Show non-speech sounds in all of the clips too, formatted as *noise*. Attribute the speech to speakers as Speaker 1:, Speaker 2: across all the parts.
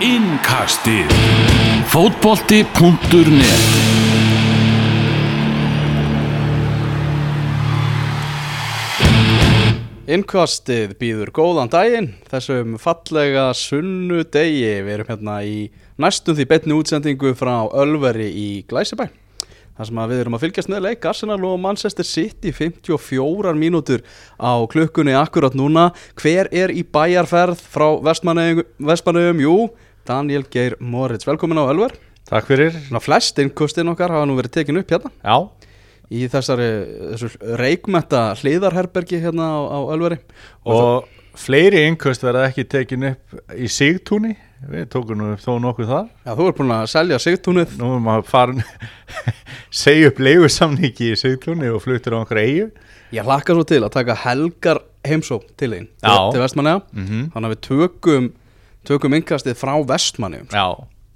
Speaker 1: Innkastið Fótbolti.net
Speaker 2: Innkvastið býður góðan daginn þessum fallega sunnudegi við erum hérna í næstum því betni útsendingu frá Ölveri í Glæsibæ þar sem að við erum að fylgjast með leik Arsenal og Manchester City 54 mínútur á klukkunni akkurat núna hver er í bæjarferð frá Vestmanneum jú, Daniel Geir Moritz velkomin á Ölver
Speaker 3: Takk fyrir.
Speaker 2: Svona flest innkvastin okkar hafa nú verið tekin upp hérna
Speaker 3: Já,
Speaker 2: í þessari þessu reikmetta hliðarherbergi hérna á, á Ölveri
Speaker 3: og fleiri innköst verða ekki tekin upp í sigtúni. Við tókum nú upp þó nokkuð þar.
Speaker 2: Já, þú ert búin að selja sigtúnið
Speaker 3: Nú erum maður farin *laughs* segja upp leigusamningi í sigtúni og fluttir á einhverja eigu.
Speaker 2: Ég hlakka svo til að taka helgar heimsó til þín
Speaker 3: Já.
Speaker 2: til Vestmannaja
Speaker 3: Mhm.
Speaker 2: Þannig að við tökum, tökum innkastið frá Vestmannum
Speaker 3: Já,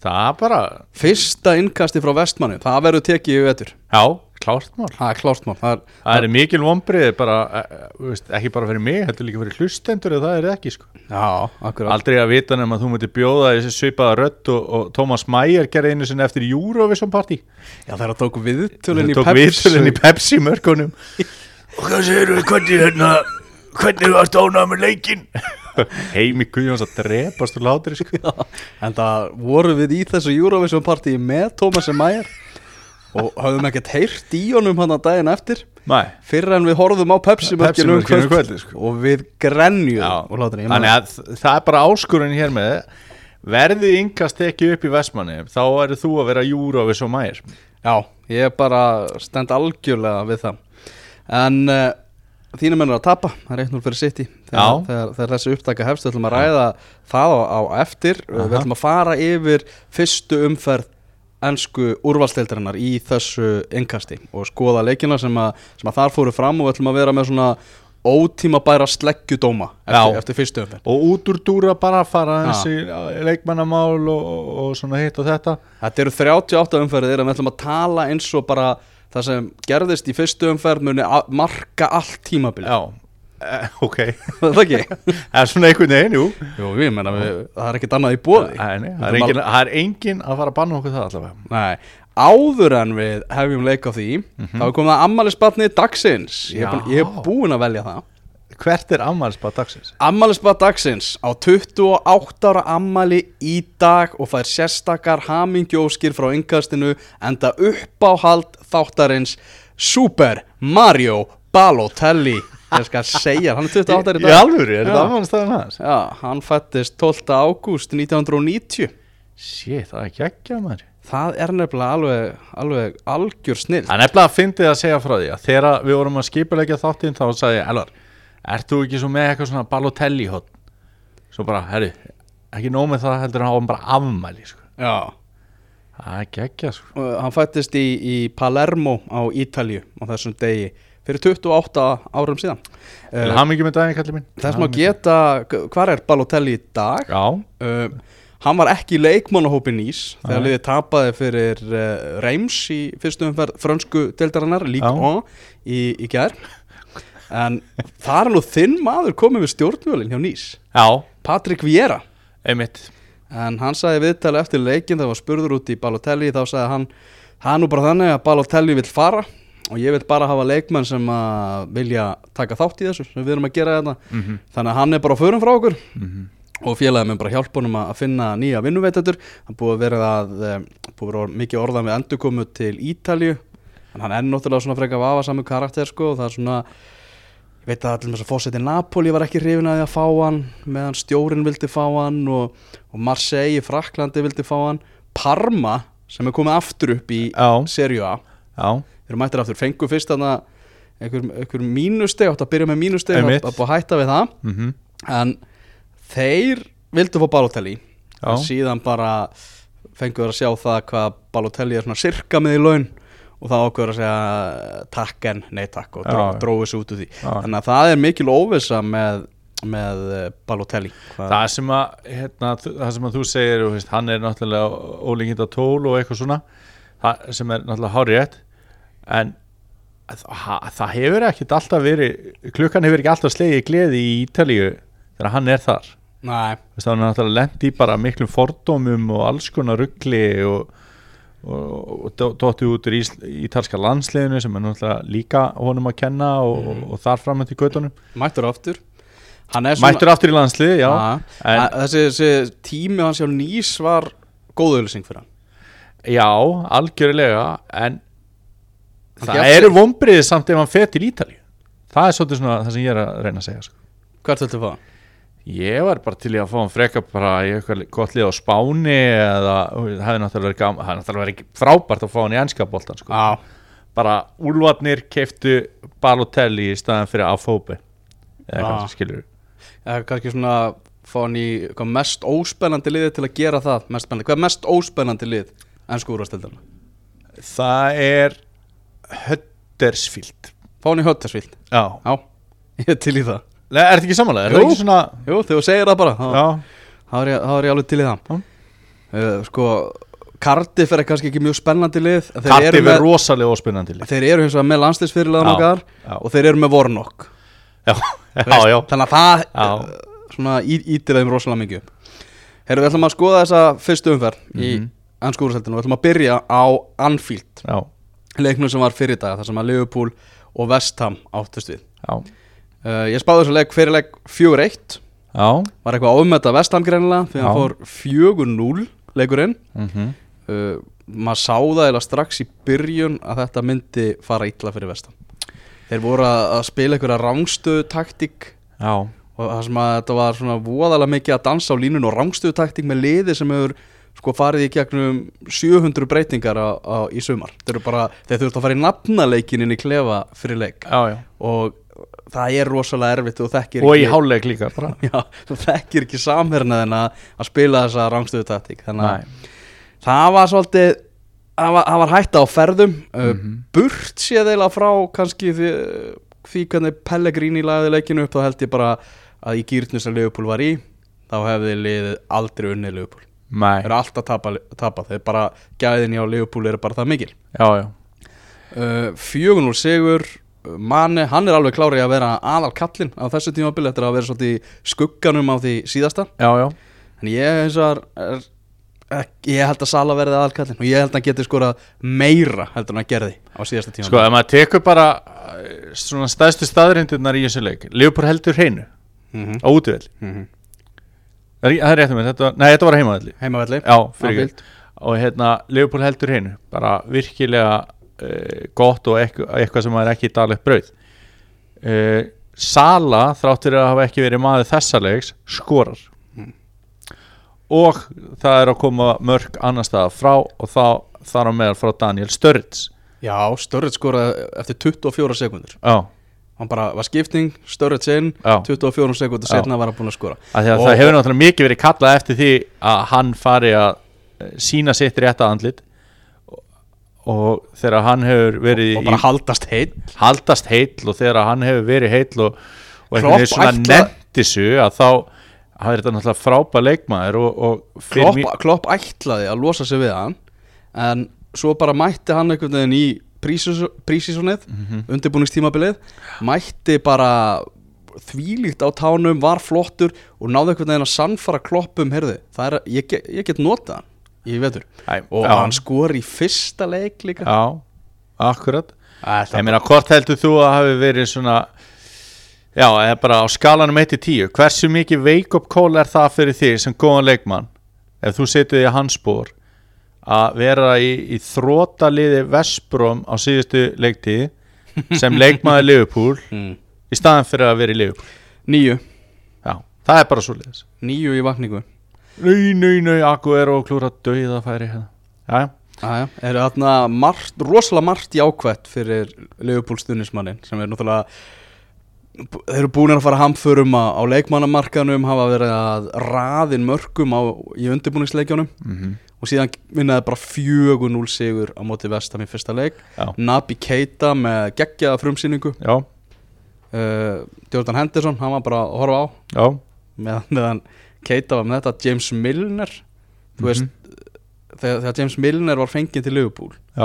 Speaker 3: það er bara,
Speaker 2: Fyrsta innkastið frá Vestmannum, það verður tekið í vetur
Speaker 3: já, klárt mál.
Speaker 2: Það er klárt mál það er,
Speaker 3: Það er mikil vombrið, bara, eh, eh, þú veist, ekki bara fyrir mig, heldur líka fyrir hlustendur eða það er ekki, sko.
Speaker 2: Já, akkurat
Speaker 3: Aldrei að vita nema að þú myndir bjóða þessi svipaða rödd og, og Thomas Mayer gerði einu sinni eftir Eurovision party.
Speaker 2: Já, það er að tók viðtölinn
Speaker 3: Hún
Speaker 2: í
Speaker 3: tók
Speaker 2: Pepsi
Speaker 3: viðtölinn í Pepsi mörkunum
Speaker 4: Og hvað segir við, hvernig hérna, hvernig varst ánað með leikinn?
Speaker 3: *laughs* Heimi Guðjóns að drepast úr látri sko.
Speaker 2: En það voru við í þessu Eurovision partíi með Tómasi Mæjar og höfum ekkert heyrt í honum hann að daginn eftir
Speaker 3: Nei
Speaker 2: Fyrr en við horfum á Pepsi-mörkinu um
Speaker 3: Pepsi-mörkinu um
Speaker 2: kvöld,
Speaker 3: kvöldið, sko.
Speaker 2: og við grenjuðum og hlátur, ég man-
Speaker 3: Þannig að þ- það er bara áskurinn hér með Verðið yngast ekki upp í Vestmanni Þá eru þú að vera Júrofis og Mægir
Speaker 2: Já, ég bara stend algjörlega við það En uh, þínu mennur að tapa, það er 1-0 fyrir City þegar,
Speaker 3: Já.
Speaker 2: þegar, þegar þessi upptaka hefst, við ætlum að ræða það á, á eftir Eh, Við ætlum að fara yfir fyrstu umferð ennsku úrvalsteldarinnar í þessu innkasti og skoða leikina sem að, sem að þar fóru fram og við ætlum að vera með svona ótímabæra sleggjudóma eftir,
Speaker 3: Já.
Speaker 2: eftir fyrstu umferð
Speaker 3: Og út úr dúra bara að fara
Speaker 2: Já.
Speaker 3: þessi leikmannamál og, og, og svona hitt og þetta
Speaker 2: Þetta eru 38 umferðir en við ætlum að tala eins og bara það sem gerðist í fyrstu umferð muni a- marka allt tímabilið
Speaker 3: Já, eh, ok *laughs*
Speaker 2: Er Það ekki?
Speaker 3: Það er svona einhvern veginn, *laughs* jú
Speaker 2: Jú, ég menna, við, það er ekkert annað í bóði
Speaker 3: Nei, nei, Það er engin- það er enginn að fara að banna okkur það allavega
Speaker 2: Nei, áður en við hefjum leik á því Þá er komið að ammælisbatni dagsins ég er, búin, ég er
Speaker 3: Mhm. Já.
Speaker 2: búin að velja það
Speaker 3: Hvert er ammælsbað dagsins?
Speaker 2: Ammælisbat dagsins á 28 ára ammæli í dag og fær sérstakar hamingjóskir frá yngastinu enda uppáhald þáttarins Super Mario Balotelli Ég skal segja, hann er 28 ára í
Speaker 3: Í
Speaker 2: dag
Speaker 3: alvöru, er þetta
Speaker 2: Já.
Speaker 3: ammælstaðan hans?
Speaker 2: Já, hann fættist 12. ágúst 1990
Speaker 3: Shit, það er ekki ekki að maður
Speaker 2: Það er nefnilega alveg, alveg algjör snill
Speaker 3: Það er nefnilega að fyndið að segja frá því að þegar við vorum að skipulegja þáttinn þá sagði ég, Elvar, ert þú ekki svo með eitthvað svona balotelli hótt? Svo bara, herri, ekki nóg með það heldur að hafa hann bara afmæli, sko.
Speaker 2: Já
Speaker 3: Það er ekki ekki, sko.
Speaker 2: Hann fættist í, í Palermo á Ítalju á þessum degi fyrir 28 árum síðan uh,
Speaker 3: Til ham ekki með daginn, kallið minn.
Speaker 2: Þess maður geta, hvar er Balotelli í dag?
Speaker 3: Já,
Speaker 2: Uh, hann var ekki í leikmannahópi nýs þegar liðið tapaði fyrir uh, Reims í fyrstu umferð frönsku deildarinnar líka
Speaker 3: Já.
Speaker 2: í, í gær En það er nú þinn maður komið við stjórnvölinn hjá nýs
Speaker 3: já,
Speaker 2: Patrick Vieira
Speaker 3: einmitt.
Speaker 2: En hann sagði viðtali eftir leikin það var spurður út í Balotelli þá sagði hann það er nú bara þannig að Balotelli vill fara og ég vill bara hafa leikmenn sem að vilja taka þátt í þessu sem við erum að gera þetta þannig að hann er bara á förum frá okkur og félagið minn bara hjálpa honum að að finna nýja vinnuveitatur hann búið að vera að eh, búið að vera mikið orðan við endurkomu til Ítalju en hann er náttúrulega svona frekar vafasamur karakter sko og það er svona ég veit að allir með þess að fósetti Napoli var ekki hrifin að því að fá hann meðan stjórin vildi fá hann og, og Marseille í Fraklandi vildi fá hann Parma sem er komið aftur upp í
Speaker 3: Já.
Speaker 2: Serie A
Speaker 3: Já,
Speaker 2: þeir eru mættir aftur, fengu fyrst þarna einhver, einhver mínusteg, átt að byrja með mínusteg
Speaker 3: Einmitt.
Speaker 2: að búið að hætta við það
Speaker 3: mhm,
Speaker 2: en þeir vildu fá Balotelli
Speaker 3: Já.
Speaker 2: en síðan bara fengu þeir að sjá það hvað Balotelli er svona sirka með í laun og það ákveður að segja takk en nei takk og dró,
Speaker 3: Já.
Speaker 2: dróðu sig út úr því
Speaker 3: Já.
Speaker 2: þannig að það er mikil óvisa með, með eh, Balotelli Hvað-
Speaker 3: Það sem að, hérna, þ- það sem að þú segir og, veist, hann er náttúrulega ólíkind að tól og eitthvað svona það, sem er náttúrulega hárétt en það, það hefur ekkit alltaf verið klukkan hefur ekki alltaf slegið í gleði í Ítalíu þegar hann er þar
Speaker 2: Nei,
Speaker 3: Þú veist, hann er náttúrulega lent í bara miklum fordómum og alls konar ruggli og, og, og dó- dottið út úr ís, ítalska landsliðinu sem er náttúrulega líka honum að kenna og, og, og þar fram eftir kvötunum
Speaker 2: mættur aftur Hann er
Speaker 3: mættur aftur í landslið, já
Speaker 2: Já,
Speaker 3: en,
Speaker 2: en, þessi, þessi tími hans hjá Nýs var góð auðlýsing fyrir hann
Speaker 3: já, algjörlega en
Speaker 2: Hann
Speaker 3: það
Speaker 2: gaf sig-
Speaker 3: eru vombriðið samt ef hann fer til Ítalíu það er svolítið svona það sem ég er að reyna að segja sko.
Speaker 2: Hvert ættu að fá hann?
Speaker 3: Ég var bara til í að fá hann freka bara í eitthvað gott lið á Spáni eða það hefði náttúrulega verið gaman, það hefði náttúrulega verið frábært að fá hann í ennska boltan sko.
Speaker 2: Já,
Speaker 3: bara úlvarnir keiftu Balotelli í staðan fyrir Afóbi eða
Speaker 2: Ah.
Speaker 3: hvað sem skilur
Speaker 2: eða kannski svona fá hann í hvað mest óspennandi liði til að gera það mest spennandi, hvað er mest óspennandi lið en skúrastildana,
Speaker 3: Það er Huddersfield
Speaker 2: fá hann í höttasvíld
Speaker 3: Já,
Speaker 2: já, ég er til í það
Speaker 3: Nei, er þetta ekki samanlega? Er
Speaker 2: Jú.
Speaker 3: það ekki svona
Speaker 2: jú, þegar þú segir það bara, þá-
Speaker 3: Já,
Speaker 2: þá er ég- þá er ég alveg til í það
Speaker 3: Já.
Speaker 2: uh, sko, Cardiff er kannski ekki mjög spennandi lið en þeir eru
Speaker 3: Cardiff er
Speaker 2: með-
Speaker 3: rosalega óspennandi lið
Speaker 2: þeir eru hins vegar með landsliðsfyrirlega
Speaker 3: Já,
Speaker 2: nokkar
Speaker 3: já.
Speaker 2: og þeir eru með Warnock
Speaker 3: Já, já, já
Speaker 2: þannig að það
Speaker 3: Já.
Speaker 2: já. svona í- ítir þeim rosalega mikið upp. Herru, við ætlum að skoða þessa fyrstu umferð
Speaker 3: Mhm.
Speaker 2: í ennsku úrstældinu og við ætlum að byrja á Anfield,
Speaker 3: Já,
Speaker 2: leiknum sem var fyrir dag þar sem að Liverpool og West Ham áttust við.
Speaker 3: já,
Speaker 2: Uh, ég spáði þessu leik fyrir leik 4-1
Speaker 3: já
Speaker 2: var eitthvað ofmeta West Ham greinilega því að hann
Speaker 3: Já.
Speaker 2: fór 4-0 leikurinn
Speaker 3: mhm.
Speaker 2: uh, maður sá það eða strax í byrjun að þetta myndi fara illa fyrir West Ham þeir voru að, að spila einhverja rangstöðu taktík
Speaker 3: Já,
Speaker 2: og það sem að þetta var svona voðalega mikið að dansa á línun og rangstöðutaktík með liði sem hefur sko farið í gegnum 700 breytingar á, á, í sumar þeir eru bara, þeir þurft að fara í nafnaleikin inn í klefa fyrir leik
Speaker 3: já, já
Speaker 2: og það er rosalega erfitt og þekkir
Speaker 3: Og í
Speaker 2: ekki,
Speaker 3: hálfleik líka bara
Speaker 2: já, þú þekkir ekki samherna en að, að spila þessa rangstöðutaktík þannig
Speaker 3: Nei.
Speaker 2: að það var svolítið það var, það var hætta á ferðum mm
Speaker 3: Mhm.
Speaker 2: burt séð eða frá kannski því, því hvernig Pellegrini lagði leikinu upp þá held ég bara að í gýrnu sem Leopold var í þá hefði liðið aldrei unnið Leopold
Speaker 3: Nei,
Speaker 2: þeir eru alltaf tapa, tapa þeir bara gæðin hjá Leopold eru bara það mikil
Speaker 3: já, já
Speaker 2: uh, 4-0 sigur Eh, Mane, hann er alveg klárið að vera aðal kallinn á þessu tímabili eftir að vera svolítið í skugganum á því síðasta
Speaker 3: Já, já,
Speaker 2: En ég eins og er, er, ég held að Sala verði aðalkallin og ég held að hann geti skorað meira heldur en hann gerði á síðasta tíma
Speaker 3: Sko, ef maður tekur bara eh, svona stæðstu staðrindirnar í þessu leik Leopold heldur hreinu
Speaker 2: Mhm.
Speaker 3: á útivill
Speaker 2: Mhm.
Speaker 3: Það er- það er rétt með þetta, nei þetta var heimavelli
Speaker 2: Heimavelli
Speaker 3: Já, fyrir
Speaker 2: Anfield.
Speaker 3: ekki Og hérna, Leopold heldur hreinu bara virkilega uh, gott og eitthvað, eitthvað sem maður er ekki í daglegt brauð uh, Sala, þrátt fyrir að hafa ekki verið maður þessa leiks, skorar
Speaker 2: Hmm.
Speaker 3: og það er að koma mörg annar staðar frá og þá þar á meðal frá Daniel Störrits
Speaker 2: Já, Störrett skoraði eftir 24 sekundur
Speaker 3: Já,
Speaker 2: Hann bara var skipting, Störrett sinn
Speaker 3: Já.
Speaker 2: 24 sekundur
Speaker 3: Já.
Speaker 2: setna var hann búin að skora
Speaker 3: Af því að
Speaker 2: Og-
Speaker 3: það hefur náttúrulega mikið verið kallað eftir því að hann fari að eh, sína sitt rétta andlit og þegar hann hefur verið
Speaker 2: og bara
Speaker 3: í
Speaker 2: haldast heill
Speaker 3: haldast heill og þegar hann hefur verið heill og,
Speaker 2: Klopp
Speaker 3: og einhvern veginn svona
Speaker 2: ætla-
Speaker 3: nefndi sig að þá það er þetta náttúrulega frábær leikmaður og, og fyrir
Speaker 2: Klopp, Klopp ætlaði að losa sig við hann en svo bara mætti hann einhvern veginn í prísísonið mm
Speaker 3: Mhm.
Speaker 2: -hmm. undirbúningstímabilið mætti bara þvílíkt á tánum, var flottur og náði einhvern veginn að sannfara kloppum herði, það er, ég, ge- ég get notað hann ég vetur,
Speaker 3: Æ,
Speaker 2: og
Speaker 3: já.
Speaker 2: hann skor í fyrsta leik líka
Speaker 3: Já, akkurat
Speaker 2: Æ,
Speaker 3: Ég
Speaker 2: það,
Speaker 3: meina, hvort heldur þú að hafi verið svona Já, eða bara á skalanum 1-10 Hversu mikið wake-up call er það fyrir þig sem góðan leikmann ef þú setið í hans spór að vera í, í þrótaliði Vestbrom á síðustu leiktíð sem leikmaður
Speaker 2: *laughs*
Speaker 3: Liverpool
Speaker 2: Mm.
Speaker 3: í staðan fyrir að vera í Liverpool
Speaker 2: nýju,
Speaker 3: Já, það er bara svo leiðis
Speaker 2: nýju í vakningu
Speaker 3: Nau, nau, nau, Aguero og klúra döiða færi hérna Já,
Speaker 2: Aja, er þarna margt, rosalega margt jákvætt fyrir Leopold Stunismannin sem er náttúrulega þeir eru búin að fara hamförum á, á leikmannamarkanum hafa verið að raðin mörgum á, í undirbúningsleikjónum og síðan vinnaði bara 4-0 sigur á móti vestam í fyrsta leik
Speaker 3: Já.
Speaker 2: Nabi Keita með geggjaða frumsýningu
Speaker 3: já,
Speaker 2: uh, Jordan Henderson, hann var bara að horfa á
Speaker 3: já,
Speaker 2: meðan, meðan Keita var með þetta James Milner þú veist þegar, þegar James Milner var fengið til Leopold
Speaker 3: já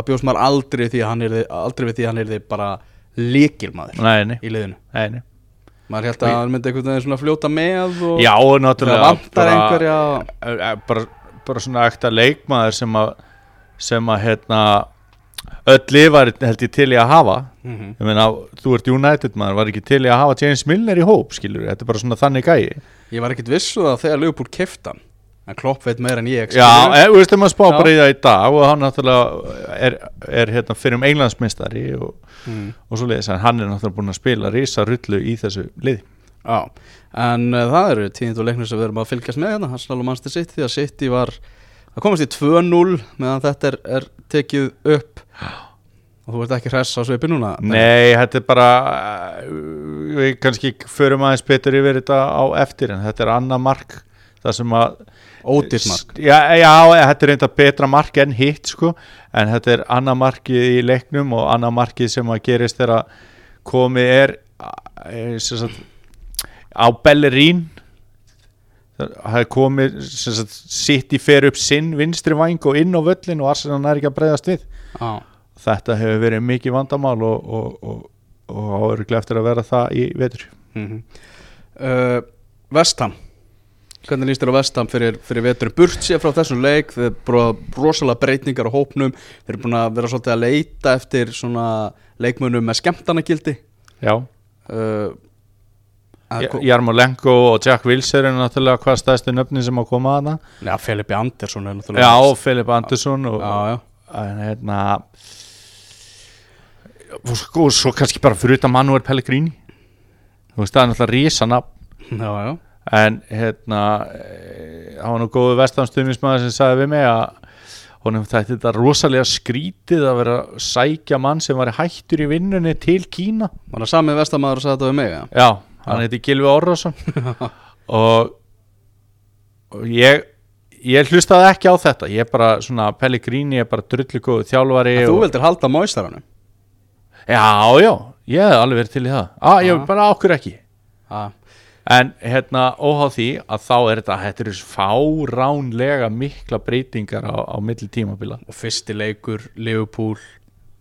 Speaker 2: það bjóðst maður aldrei, því að hann yrði, aldrei við því að hann er því bara líkilmaður
Speaker 3: Nei, nei,
Speaker 2: í liðinu
Speaker 3: nei, nei.
Speaker 2: maður held að hann myndi einhvern veginn svona fljóta með og
Speaker 3: Já, og
Speaker 2: það
Speaker 3: náttúrulega
Speaker 2: vantar einhverja
Speaker 3: einhverja bara, bara svona ekta leikmaður sem að sem að hérna öll lifar held ég til í að hafa
Speaker 2: mm
Speaker 3: ég meina, þú ert United maður var ekki til í að hafa James Milner í hóp skilur, þetta er bara svona þannig gæi
Speaker 2: ég var ekkit viss um það þegar Leopold keftan en Klopp veit meira en ég skilurðu.
Speaker 3: Já, e, þú veist, ef maður spá
Speaker 2: Já.
Speaker 3: bara í það í dag og hann náttúrulega er, er hérna fyrir um englandsmeistari og,
Speaker 2: Mm.
Speaker 3: og svo leiðis en hann er náttúrulega búin að spila rísa rullu í þessu liði
Speaker 2: Já, en uh, það eru tíðindu leiknir sem við erum að fylgjast með hérna, Arsenal og Manchester City, því að City var að komast í 2-0 meðan þetta er, er tekið upp og þú ert ekki hress á svipi núna
Speaker 3: Nei, þetta er bara eh, við kannski förum aðeins betur yfir þetta á eftir en þetta er annað mark það sem að
Speaker 2: Ódýrsmark
Speaker 3: Já, já, þetta er reynda betra mark en hitt sko, en þetta er annað markið í leiknum og annað markið sem að gerist þegar að komið er eh, sem sagt, á Bellerín það er komið sem sagt, sitt í fer upp sinn vinstri væng og inn á völlin og Arsenal er ekki að breyðast við
Speaker 2: Já,
Speaker 3: þetta hefur verið mikið vandamál og, og, og, og áuruglega eftir að vera það í vetur
Speaker 2: mhm. uh, Vestham Hvernig líst þér á Vestham fyrir, fyrir veturinn burt sér frá þessum leik þeir bróða rosalega breytingar á hópnum þeir eru búin að vera svolítið að leita eftir svona leikmönum með skemmtanagildi
Speaker 3: Já,
Speaker 2: uh, að ko-
Speaker 3: Jarmo Lenko og Jack Wills eru náttúrulega hvað stæðstu nöfni sem að koma að það
Speaker 2: Já, Felipe Andersson er náttúrulega
Speaker 3: Já, og Filip Andersson og,
Speaker 2: já, já.
Speaker 3: en hérna og sko, og svo kannski bara fyrir utan Manuel Pellegrini þú veist það er náttúrulega rísana
Speaker 2: já, já.
Speaker 3: en hérna eh, það var nú góðu vestanstumismæður sem sagði við mig að honum þætti þetta rosalega skrítið að vera að sækja mann sem var hættur í vinnunni til Kína
Speaker 2: Var það samið vestamæður og sagði þetta við *laughs* mig, já?
Speaker 3: Já, hann heiti Gilvi Orrason og, og ég ég hlustaði ekki á þetta ég er bara svona Pellegrini ég er bara drullu góðu þjálfari
Speaker 2: En Þú
Speaker 3: og,
Speaker 2: vildir halda móistaranum
Speaker 3: Já, já, ég hef alveg verið til í það ah, Ég
Speaker 2: Ah.
Speaker 3: bara okkur ekki
Speaker 2: Já,
Speaker 3: En hérna, óháð því að þá er þetta þetta eru fáránlega mikla breytingar á, á milli tímabila
Speaker 2: og fyrsti leikur, Liverpool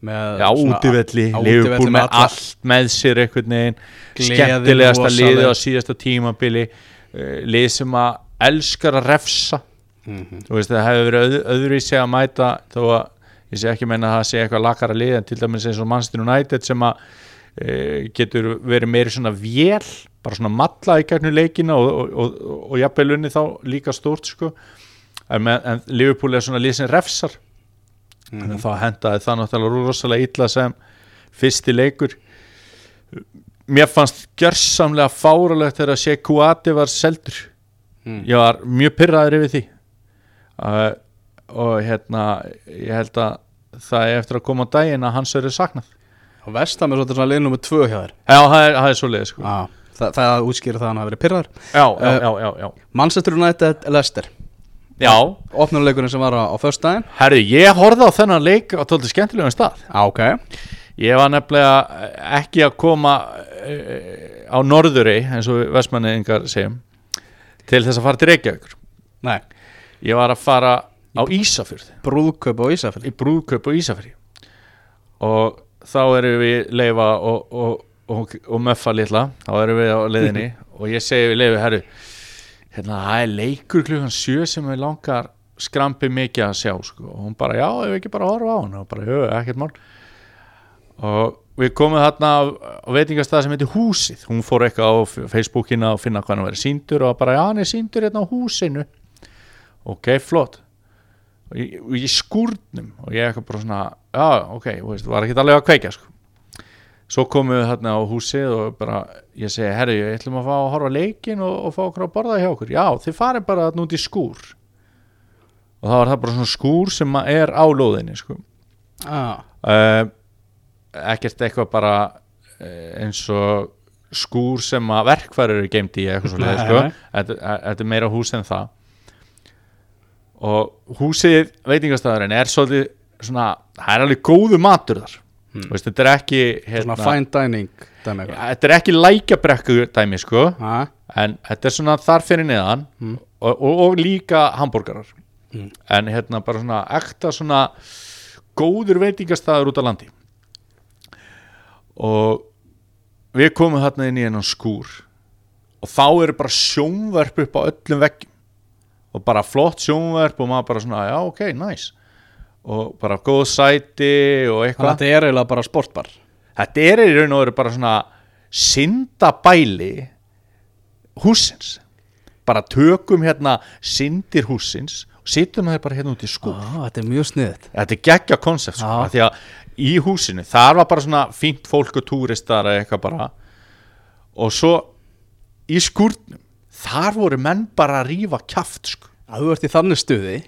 Speaker 2: með
Speaker 3: Já,
Speaker 2: svona-
Speaker 3: útivelli,
Speaker 2: á
Speaker 3: Liverpool með
Speaker 2: alla-
Speaker 3: allt með sér einhvern veginn
Speaker 2: Gleðin
Speaker 3: skemmtilegasta
Speaker 2: rosaleg.
Speaker 3: liðið á síðasta tímabili uh, lið sem að elskar að refsa
Speaker 2: Mhm.
Speaker 3: þú veist það hefur verið öð, öðruvísi að mæta þó að ég sé ekki að meina að það sé eitthvað lakara lið en til dæmis eins og Manchester United sem að e, getur verið meiri svona vél bara svona matla í gegnum leikina og, og, og, og, og jafnvel unni þá líka stórt sko en, með, en Liverpool er svona lið sem refsar
Speaker 2: Mhm.
Speaker 3: en þá hendaði það náttúrulega rosalega illa sem fyrsti leikur mér fannst gjörsamlega fáralegt þegar að sé Kuati var seldur
Speaker 2: Mm.
Speaker 3: ég var mjög pyrraður yfir því uh, og hérna ég held að það er eftir að koma á daginn að hans verið saknað
Speaker 2: Og vestam er svolítið svona liðnum með tvö hjá þér
Speaker 3: já, það er, það er svo leið sko.
Speaker 2: Já, það, það útskýrir það að hann hafi verið pyrrar
Speaker 3: já, já,
Speaker 2: Eh,
Speaker 3: já, já, já.
Speaker 2: Manchester United, Leicester
Speaker 3: já,
Speaker 2: Opnuleikurinn sem var á, á föstudaginn
Speaker 3: herri, ég horfði á þennan leik á tóldi skemmtilegum stað
Speaker 2: Já, ok
Speaker 3: ég var nefnilega ekki að koma eh, á norðuri eins og vestmanningar segjum til þess að fara til Reykjavíkur
Speaker 2: Nei,
Speaker 3: ég var að fara á Ísafjörð
Speaker 2: brúðkaup á Ísafell
Speaker 3: í brúðkaup á Ísafjörði og þá erum við Leifa og, og, og, og Möffa litla þá erum við á leiðinni og ég segi við Leifi herru hérna það er leikur klukkan sjö sem við langar skrampi mikið að sjá sko. og hún bara já, ef við ekki bara horfa á hann og bara, jú, ekkert mál og við komum þarna á, á veitingastað sem heitir Húsið hún fór eitthvað á F- Facebookina og finna hvað hann verið síndur og bara, já, hann er síndur hérna á húsinu ok, flott og ég, og ég skúrnum og ég eitthvað bara svona já, ok, þú veist, var ekki alveg að kveikja sko. svo komum við þarna á húsið og bara, ég segi, herri, ég ætlum að fá að horfa á leikinn og, og fá okkur að borða hjá okkur já, þið farið bara þarna út í skúr og þá var það bara svona skúr sem að er á lóðinni sko.
Speaker 2: Já,
Speaker 3: uh, ekkert eitthvað bara uh, eins og skúr sem að verkfæri eru geimt í eitthvað svo
Speaker 2: Nei,
Speaker 3: sko.
Speaker 2: nei.
Speaker 3: þetta, þetta er meira hús en það og húsið veitingastæðurinn er svolítið svona, það er alveg góðu matur þar Þú veist, þetta er ekki
Speaker 2: Hmm. svona
Speaker 3: hérna,
Speaker 2: fine dining dæmi eitthvað.
Speaker 3: þetta er ekki lækjabrekku dæmi sko,
Speaker 2: Já,
Speaker 3: en þetta er svona þar fyrir neðan og, og, og líka hambúrgarar en hérna bara svona ekta svona góður veitingastæður út á landi og við komum þarna inn í hennan skúr og þá eru bara sjónverp upp á öllum veggjum og bara flott sjónverp og maður bara svona, já ok, nice og bara góð sæti og
Speaker 2: Þannig
Speaker 3: eitthvað
Speaker 2: að þetta er eiginlega bara sportbar
Speaker 3: Þetta er í raun og veru bara svona syndabæli húsins bara tökum hérna syndir húsins og sittum þeir bara hérna út í skúr
Speaker 2: Ó, Þetta er mjög sniðið
Speaker 3: Þetta er geggja konsept sko,
Speaker 2: Já.
Speaker 3: af því að í húsinu, þar var bara svona fínt fólk og túristar eða eitthvað bara og svo í skúrnum, þar voru menn bara að rífa kjaft sko.
Speaker 2: að þú ert í þannig stuði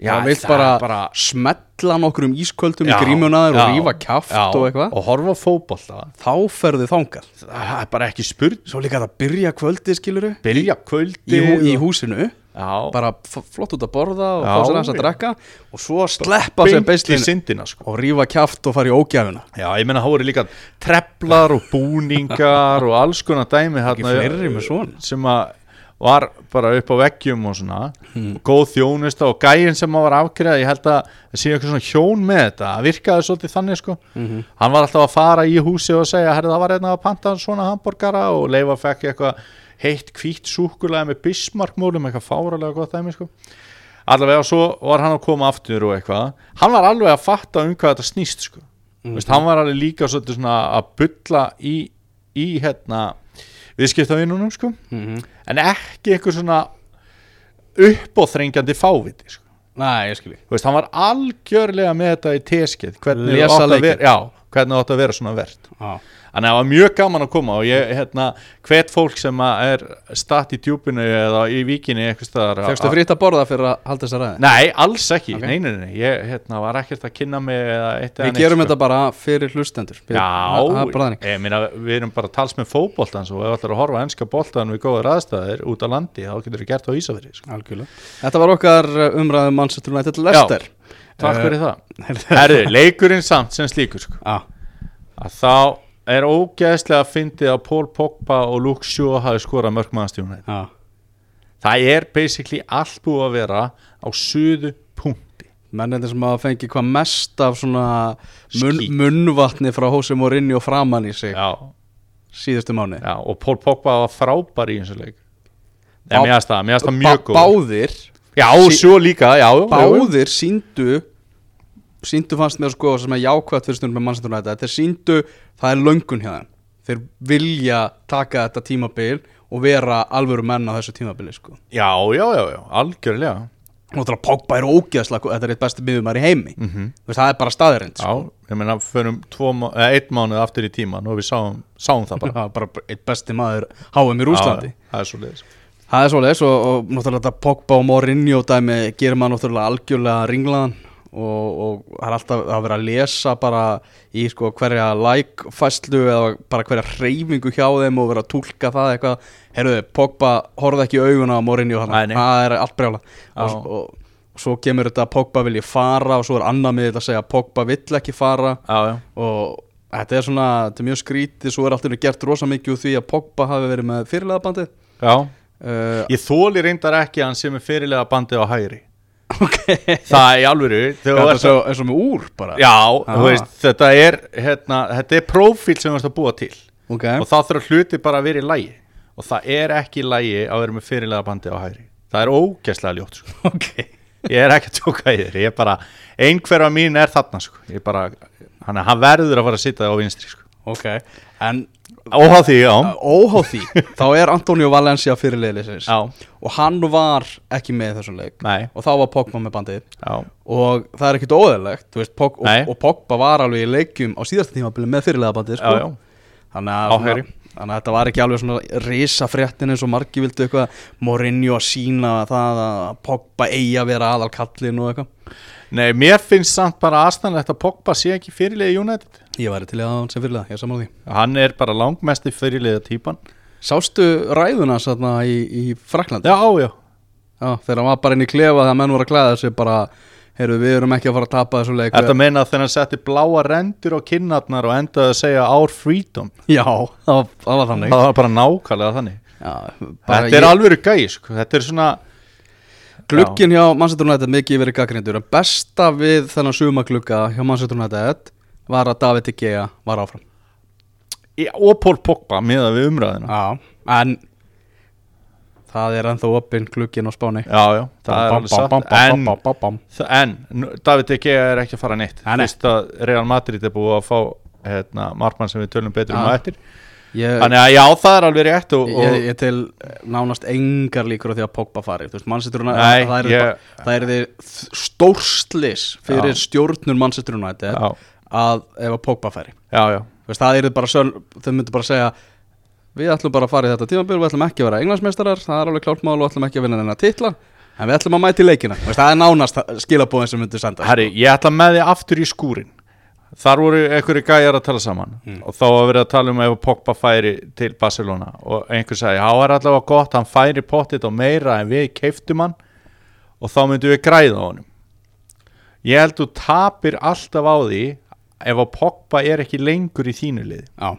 Speaker 3: Já,
Speaker 2: og vilt
Speaker 3: það
Speaker 2: bara,
Speaker 3: er bara-
Speaker 2: smetla nokkur um ísköldum í
Speaker 3: Já,
Speaker 2: grímunaður og
Speaker 3: já,
Speaker 2: rífa kjaft
Speaker 3: já,
Speaker 2: og eitthvað
Speaker 3: Og horfa á fótbolta,
Speaker 2: þá ferðu þangað
Speaker 3: það er bara ekki spurning
Speaker 2: svo líka það byrja kvöldi skiluru
Speaker 3: byrja kvöldi
Speaker 2: í, hú, í
Speaker 3: og-
Speaker 2: húsinu
Speaker 3: Já,
Speaker 2: bara f- flott út að borða og
Speaker 3: Já,
Speaker 2: fá sér aðeins að
Speaker 3: já.
Speaker 2: drekka og svo sleppa sér
Speaker 3: beint í
Speaker 2: beislinu
Speaker 3: syndina sko.
Speaker 2: og rífa kjaft og fara í ógjafuna
Speaker 3: Já, ég meina, það voru líka treplar og búningar og alls konar dæmi þarna,
Speaker 2: fleiri með svona.
Speaker 3: sem að var bara upp á veggjum og svona og góð þjónusta og gæin sem að var afgreða ég held að það sé eitthvað svona hjón með þetta það virkaði svolítið þannig sko hann var alltaf að fara í húsi og segja herri það var einna að panta svona hambúrgara og leifa fekk eitthvað heitt hvítt súkulega með bismarkmúlum eitthvað fáralega gott dæmi sko allavega svo var hann að koma aftur og eitthvað hann var alveg að fatta um hvað þetta snýst sko. mm Veist, hann var alveg líka svolítið svona að bulla í, í hérna viðskiptavinnunum sko en ekki eitthvað svona uppóþrengjandi fáviti sko.
Speaker 2: Nei, ég skil ég
Speaker 3: Þú veist, hann var algjörlega með þetta í teskeið hvernig þú
Speaker 2: Lesa
Speaker 3: átt að
Speaker 2: leikinn.
Speaker 3: vera, já, hvernig þú átt að vera svona verð
Speaker 2: Já,
Speaker 3: Þannig að það var mjög gaman að koma og ég, hérna, hvert fólk sem að er statt í djúpinu eða í víkinni eitthvað staðar að-
Speaker 2: fegstu fritt að borða fyrir að halda þessa ræði
Speaker 3: Nei, alls ekki,
Speaker 2: Ok.
Speaker 3: okay. nei, nei, nei, ég hérna, var ekkert að kynna mig eða eitt eða
Speaker 2: Við
Speaker 3: neitt,
Speaker 2: gerum
Speaker 3: sko.
Speaker 2: þetta bara fyrir hlustendur Við- það- það er bara
Speaker 3: Já,
Speaker 2: þannig.
Speaker 3: ég meina, við erum bara tals með fótboltans og ef allar að horfa á enska boltan við góður aðstæðir út á landi þá getur við gert á Ísafirði sko.
Speaker 2: Algjörlega. Þetta var okkar umræðum Manchester United Lester
Speaker 3: Takk
Speaker 2: Eh,
Speaker 3: fyrir það Herðu, leikurinn samt sem slíkur sko.
Speaker 2: *laughs* Já,
Speaker 3: að þá er ógeðslega að fyndið að Paul Pogba og Luke Shaw hafi skorað mörgmaðastjónætt
Speaker 2: já
Speaker 3: Það er basically allt búið að vera á suðu punkti
Speaker 2: mennendir sem hafa fengið hvað mest af svona mun,
Speaker 3: Skít.
Speaker 2: munnvatni frá Hosei Mourinho framan í sig
Speaker 3: Já,
Speaker 2: síðustu mánu
Speaker 3: já, og Paul Pogba var frábær í eins og leik Nei,
Speaker 2: Bá-
Speaker 3: mér finnst það, mér finnst það mjög góð
Speaker 2: báðir,
Speaker 3: Já,
Speaker 2: Sí-
Speaker 3: svo líka, já jú, jú.
Speaker 2: báðir síndu síndu fannst mér sko sem er jákvæmt fyrir stundum með Manchester United þeir síndu, það er löngun hérna þeir vilja taka þetta tímabil og vera alvöru menn á þessu tímabili sko
Speaker 3: Já, já, já, já, algjörlega
Speaker 2: og það er að Pogba er ógeðslega gó- þetta er eitt besti miðumar í heimi mm -hmm. það er bara staðarind sko.
Speaker 3: Mhm. Já, ég meina, förum tvo, má- eða, einn mánuð aftur í tíman og við sáum, sáum það
Speaker 2: *laughs*
Speaker 3: bara
Speaker 2: það er bara eitt besti maður HM í Rúslandi
Speaker 3: Já, já, Það er svo leiðis
Speaker 2: Það er svoleiðis og, og náttúrulega þetta Pogba og Mourinho dæmi gerir maður náttúrulega algjörlega ringlaðan og, og það er alltaf að vera að lesa bara í sko hverja like-fæslu eða bara hverja hreyfingu hjá þeim og vera að tólka það eitthvað Herruðu, Pogba horfði ekki í augun á Mourinho
Speaker 3: Nei,
Speaker 2: hann,
Speaker 3: nei.
Speaker 2: það er allt brjála og,
Speaker 3: Já.
Speaker 2: og, og svo kemur þetta að Pogba vilji fara og svo er annað miðið að segja að Pogba vill ekki fara
Speaker 3: Já, já
Speaker 2: og þetta er svona, þetta er mjög skrítið svo er allt í einu gert rosa mikið úr því að Pogba hafi verið með fyrirlega bandið
Speaker 3: Já,
Speaker 2: uh,
Speaker 3: ég þóli reyndar ekki að hann sem er fyrirlega bandið á hægri
Speaker 2: ok
Speaker 3: Það er í alvöru
Speaker 2: Já,
Speaker 3: þegar þú
Speaker 2: þetta er
Speaker 3: ert
Speaker 2: svo, er svo með úr bara
Speaker 3: Já,
Speaker 2: Ah.
Speaker 3: þú veist, þetta er, hérna, þetta er prófíl sem þú ert að búa til
Speaker 2: Ok,
Speaker 3: og þá þurfa hluti bara að vera í lægi og það er ekki í lægi að vera með fyrirlega bandið á hægri Það er ógæslega ljótt, sko
Speaker 2: ok
Speaker 3: Ég er ekki að tjóka í þér, ég er bara, einhverfa mín er þarna, sko Ég bara, hann, hann verður að fara að sitja á vinstri, sko
Speaker 2: Ok, en
Speaker 3: Óhá því, já.
Speaker 2: óhá
Speaker 3: *laughs*
Speaker 2: því þá er Antonio Valencia fyrirliðlisins
Speaker 3: Já.
Speaker 2: og hann var ekki með í þessum leik
Speaker 3: Nei.
Speaker 2: og þá var Pogba með bandið
Speaker 3: já.
Speaker 2: og það er ekkit óðalegt veist, Pog, og,
Speaker 3: Nei.
Speaker 2: og Pogba var alveg í leikjum á síðasta tímabili með fyrirlega bandið sko.
Speaker 3: Já, já.
Speaker 2: Þannig, að,
Speaker 3: Á hægri.
Speaker 2: þannig að þetta var ekki alveg svona risafréttin eins og margi vildu eitthvað Mourinho að sína það að Pogba eigi að vera aðal kallin og eitthvað
Speaker 3: Nei, mér finnst samt bara aðstæðanlegt að Pogba sé ekki fyrirliði í United.
Speaker 2: Ég væri til í að hafa hann sem fyrirlega, ég er saman á því
Speaker 3: Hann er bara langmesti fyrirliða típan.
Speaker 2: Sástu ræðuna satna, í, í Fraklandi?
Speaker 3: Já, já.
Speaker 2: Já, þegar hann var bara inn í klefa þegar menn voru að klæða sig bara, heyrðu, við erum ekki að fara að tapa þessu leik
Speaker 3: Þetta meina að þegar hann setti bláa rendur á kinnarnar og endaði að segja our freedom.
Speaker 2: Já, það var, það var þannig
Speaker 3: Það var bara nákvæmlega þannig.
Speaker 2: Já, bara
Speaker 3: Þetta er alveg gæi, sko. Þetta er svona,
Speaker 2: Glugginn hjá Manchester United mikið verið gaggrindur en besta við þennan sumaglugga hjá Manchester United var að David De Gea var áfram
Speaker 3: í- og Pól Pogba með að við umræðina
Speaker 2: Já, en það er ennþá opinn glukkin á spáni
Speaker 3: já, já, það er alveg satt en,
Speaker 2: en
Speaker 3: þa- en nú- David De Gea er ekki að fara neitt
Speaker 2: Nei, nei.
Speaker 3: fyrst að Real Madrid er búið að fá hérna, markmann sem við tölum betur um
Speaker 2: Já.
Speaker 3: á eftir
Speaker 2: ég,
Speaker 3: þannig að já, það er alveg rétt og, og
Speaker 2: Ah. Eh. ég, ég til nánast engar líkur á því að Pogba fari Þú veist, Manchester
Speaker 3: Nei,
Speaker 2: United það er,
Speaker 3: ég-
Speaker 2: bara, það er þið stórslis fyrir
Speaker 3: Já.
Speaker 2: stjórnur Manchester United
Speaker 3: já,
Speaker 2: að ef að Pogba fari
Speaker 3: já, já,
Speaker 2: Þú veist, það er bara sönn, þau myndu bara segja við ætlum bara að fara í þetta tímabil við ætlum ekki að vera englandsmeistarar, það er alveg klárt mál og ætlum ekki að vinna þennan titla en við ætlum að mæta í leikina, Þú veist, það er nánast skilabóðin sem myndu senda
Speaker 3: herri, ég ætla með þið aftur í skúrin þar voru einhverju gæjar að tala saman og þá var verið að tala um ef Pogba færi til Barcelona og einhver sagði, há er allavega gott, hann færi pottit og meira en við keiftum hann og þá myndum við græða á honum ég held þú tapir alltaf á því ef að Pogba er ekki lengur í þínu liði
Speaker 2: Já,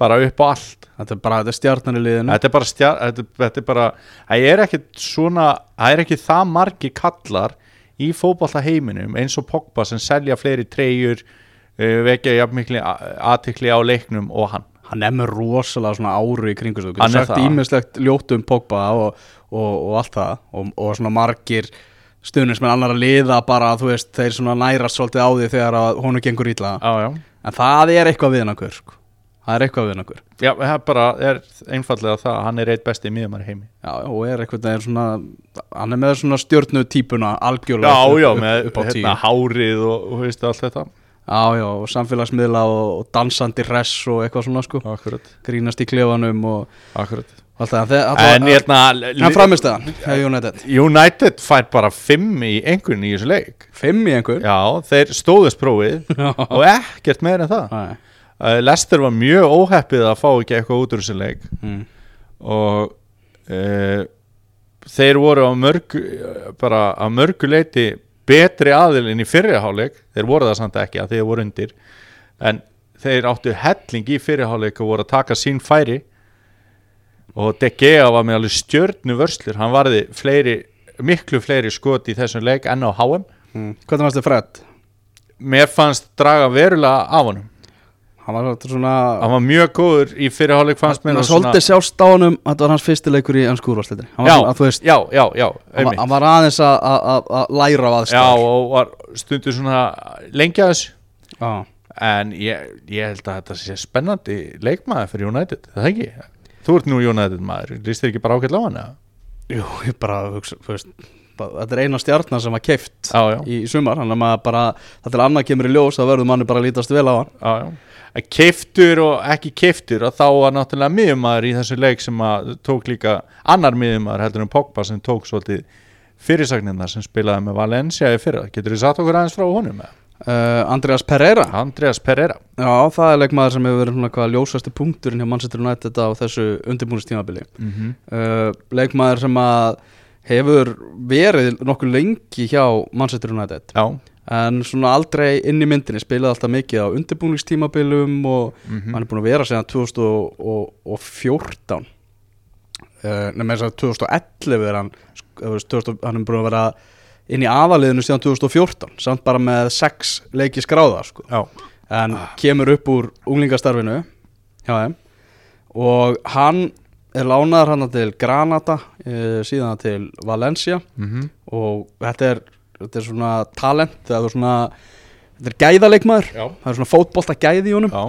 Speaker 3: bara upp á allt
Speaker 2: þetta er bara þetta er stjarnan í liðinu
Speaker 3: þetta er bara, stjar, þetta, þetta er bara það er ekki svona það er ekki það margi kallar í fótballta heiminum eins og Pogba sem selja fleiri treyjur uh, vekja jafnmikli aðtikli á leiknum og hann
Speaker 2: hann er með rosalega svona áru í kringu sig. þú
Speaker 3: Hann
Speaker 2: getur
Speaker 3: er
Speaker 2: sagt
Speaker 3: það.
Speaker 2: ímislegt ljótt um Pogba og, og, og allt það og, og svona margir stuðnismenn annar að liða bara þú veist þeir svona nærast svolítið á því þegar að honum gengur ítla
Speaker 3: já, já.
Speaker 2: en það er eitthvað við hann okkur sko. það er eitthvað við hann okkur
Speaker 3: já, það er bara er einfallega það að hann er eitt besti miðumar heimi
Speaker 2: Já, og er eitthvað þegar svona hann er með svona stjörnu típuna
Speaker 3: já,
Speaker 2: algjörlega upp-
Speaker 3: já,
Speaker 2: upp,
Speaker 3: með
Speaker 2: upp á tíu
Speaker 3: hérna, hárið og, og veist, allt þetta
Speaker 2: Já, já, og samfélagsmiðla og, og dansandi hress og eitthvað svona sko
Speaker 3: akkurat,
Speaker 2: grínast í klefanum og
Speaker 3: akkurat.
Speaker 2: allt það en, þe-
Speaker 3: en ég
Speaker 2: En
Speaker 3: hérna
Speaker 2: framistaðan, hefur United
Speaker 3: United fær bara 5 í einhvern í þessu leik
Speaker 2: Fimm í einhver
Speaker 3: já, þeir stóðust *laughs* prófið
Speaker 2: Já.
Speaker 3: og ekkert meira en það
Speaker 2: Nei.
Speaker 3: uh, Lester var mjög óheppið að fá ekki eitthvað út úr þessu leik
Speaker 2: Mm.
Speaker 3: og uh, þeir voru á mörgu eh, bara á mörgu leiti betri aðilinn í fyrirháleik þeir voru það samt ekki að þeir voru undir en þeir áttu helling í fyrirháleik og voru að taka sín færi og De Gea var með alveg stjörnu vörslur hann varði fleiri, miklu fleiri skot í þessum leik enn á HM
Speaker 2: Mm. Hvernig fannst þið Fred?
Speaker 3: mér fannst draga verulega af honum
Speaker 2: Hann var svolítið svona
Speaker 3: hann var mjög góður í fyrirháleik fannst mér
Speaker 2: Hann
Speaker 3: og
Speaker 2: svolítið sjást á honum Þetta var hans fyrsti leikur í ennsku úrvarsleitri Hann var,
Speaker 3: já,
Speaker 2: svona, að, þú veist,
Speaker 3: já, já, já,
Speaker 2: hann, var,
Speaker 3: einmitt
Speaker 2: hann var aðeins að- að að- að læra á
Speaker 3: Já,
Speaker 2: aðstæður
Speaker 3: og var stundu svona lengja þessu
Speaker 2: Já,
Speaker 3: En ég, ég held að þetta sé spennandi leikmaður fyrir United, er það ekki? Þú ert nú United maður, líst þér ekki bara ákveðla á hana?
Speaker 2: Jú, ég bara hugsa þú veist, bara, Þetta er eina stjarnar sem var keift
Speaker 3: Já, já,
Speaker 2: í sumar Þannig að maður bara Þetta er annað kemur í ljós Það verður manni bara að lítast vel á hann
Speaker 3: já, já. Að keiftur og ekki keiftur og þá var náttúrulega miðumadur í þessu leik sem að tók líka annar miðumadur heldur en Pogba sem tók svolítið fyrirsagnirna sem spilaði með Valencia í fyrra. Getur þið satt okkur aðeins frá honum? eða?
Speaker 2: uh, Andreas Pereira
Speaker 3: Andreas Pereira.
Speaker 2: Já, það er leikmaður sem hefur verið svona hvað ljósasti punkturinn hjá Manchester United á þessu undirbúinistímabili
Speaker 3: Mm
Speaker 2: uh, leikmaður sem að hefur verið nokkuð lengi hjá Manchester United
Speaker 3: Já,
Speaker 2: en svona aldrei inn í myndinni spilaði alltaf mikið á undirbúningstímabilum og hann er búin að vera síðan 2014 uh, nema þess að 2011 er hann, sk- þú veist, 2000, hann er búin að vera inn í aðaliðinu síðan 2014 samt bara með sex leiki skráða sko
Speaker 3: já,
Speaker 2: en
Speaker 3: Ah.
Speaker 2: kemur upp úr unglingastarfinu hjá þeim og hann er lánaður hann til Granada e, síðan til Valencia
Speaker 3: mm
Speaker 2: og þetta er, þetta er svona talent þetta er svona þetta er gæðaleikmaður
Speaker 3: já,
Speaker 2: það er svona fótbolta gæði í honum
Speaker 3: já,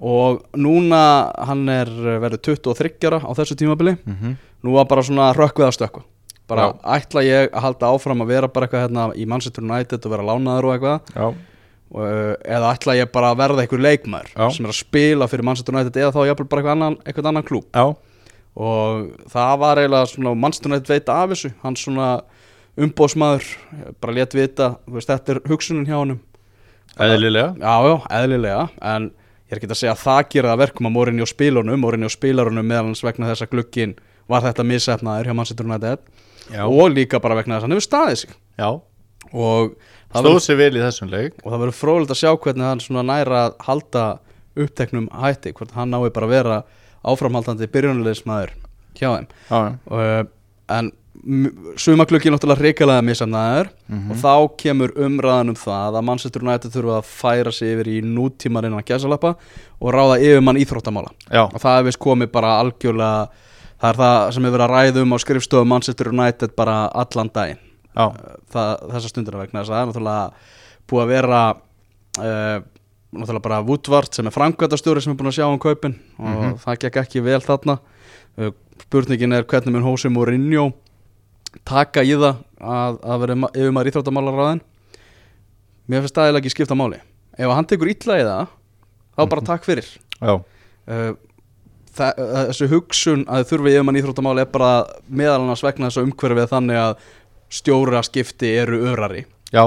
Speaker 2: og núna hann er eh, verið 23 ára á þessu tímabili
Speaker 3: mhm.
Speaker 2: nú var bara svona rökkvið að stökkva bara
Speaker 3: Já.
Speaker 2: ætla ég að halda áfram að vera bara eitthvað hérna í Manchester United og vera lánaður og eitthvað
Speaker 3: já,
Speaker 2: Og, uh, eða ætla ég bara að verða einhver leikmaður
Speaker 3: Já.
Speaker 2: sem er að spila fyrir Manchester United eða þá jafnvel bara eitthvað annan, eitthvað annan klúb
Speaker 3: já.
Speaker 2: og það var eiginlega svona Manchester United veit af þessu hann svona umbóðsmaður bara létt vita, þú veist, þetta er hugsunin hjá honum
Speaker 3: Eðlilega
Speaker 2: já, já, eðlilega en ég er ekki að segja að það gera það verkum að morinni og spilunum, morinni og spilarunum meðal hans vegna þess að glukkin var þetta misefnaður hjá Manchester United
Speaker 3: Já.
Speaker 2: og líka bara vegna þess að hann hefur staðið sig
Speaker 3: Já
Speaker 2: og það
Speaker 3: Stóð sér vel í þessum leik
Speaker 2: og það verður fróðilegt að sjá hvernig hann svona næra að halda uppteknum hætti hvort hann nái bara að vera áframhaldandi byrjunleismæður hjá þeim
Speaker 3: Já,
Speaker 2: og, en sumaklukki náttúrulega reikalega misamnaður og þá kemur umræðan um það að Manchester United þurfa að færa sig yfir í nútímarinn að gæsalappa og ráða yfirmann íþróttamála
Speaker 3: Já.
Speaker 2: og það hefist komið bara algjörlega það er það sem hefur verið að ræða um á skrifstofu Manchester United bara allan daginn
Speaker 3: Já,
Speaker 2: það, Eh, þessa stundina vegna þess að það er náttúrulega búið að vera uh, náttúrulega bara Woodward sem er framkvæmtastjóri sem er búin að sjá um kaupin og það gekk ekki vel þarna uh, spurningin er hvernig mun Hósi Mourinho taka í það að, að vera ma- yfir maður íþróttamálaráðin mér finnst það eiginlega ekki skipta máli ef hann tekur illa í það þá bara takk fyrir
Speaker 3: já,
Speaker 2: uh, þa- uh, þessu hugsun að þurfi yfirmann íþróttamáli er bara meðal annars vegna þessu umhverfið þannig að stjóra skipti eru örari
Speaker 3: já,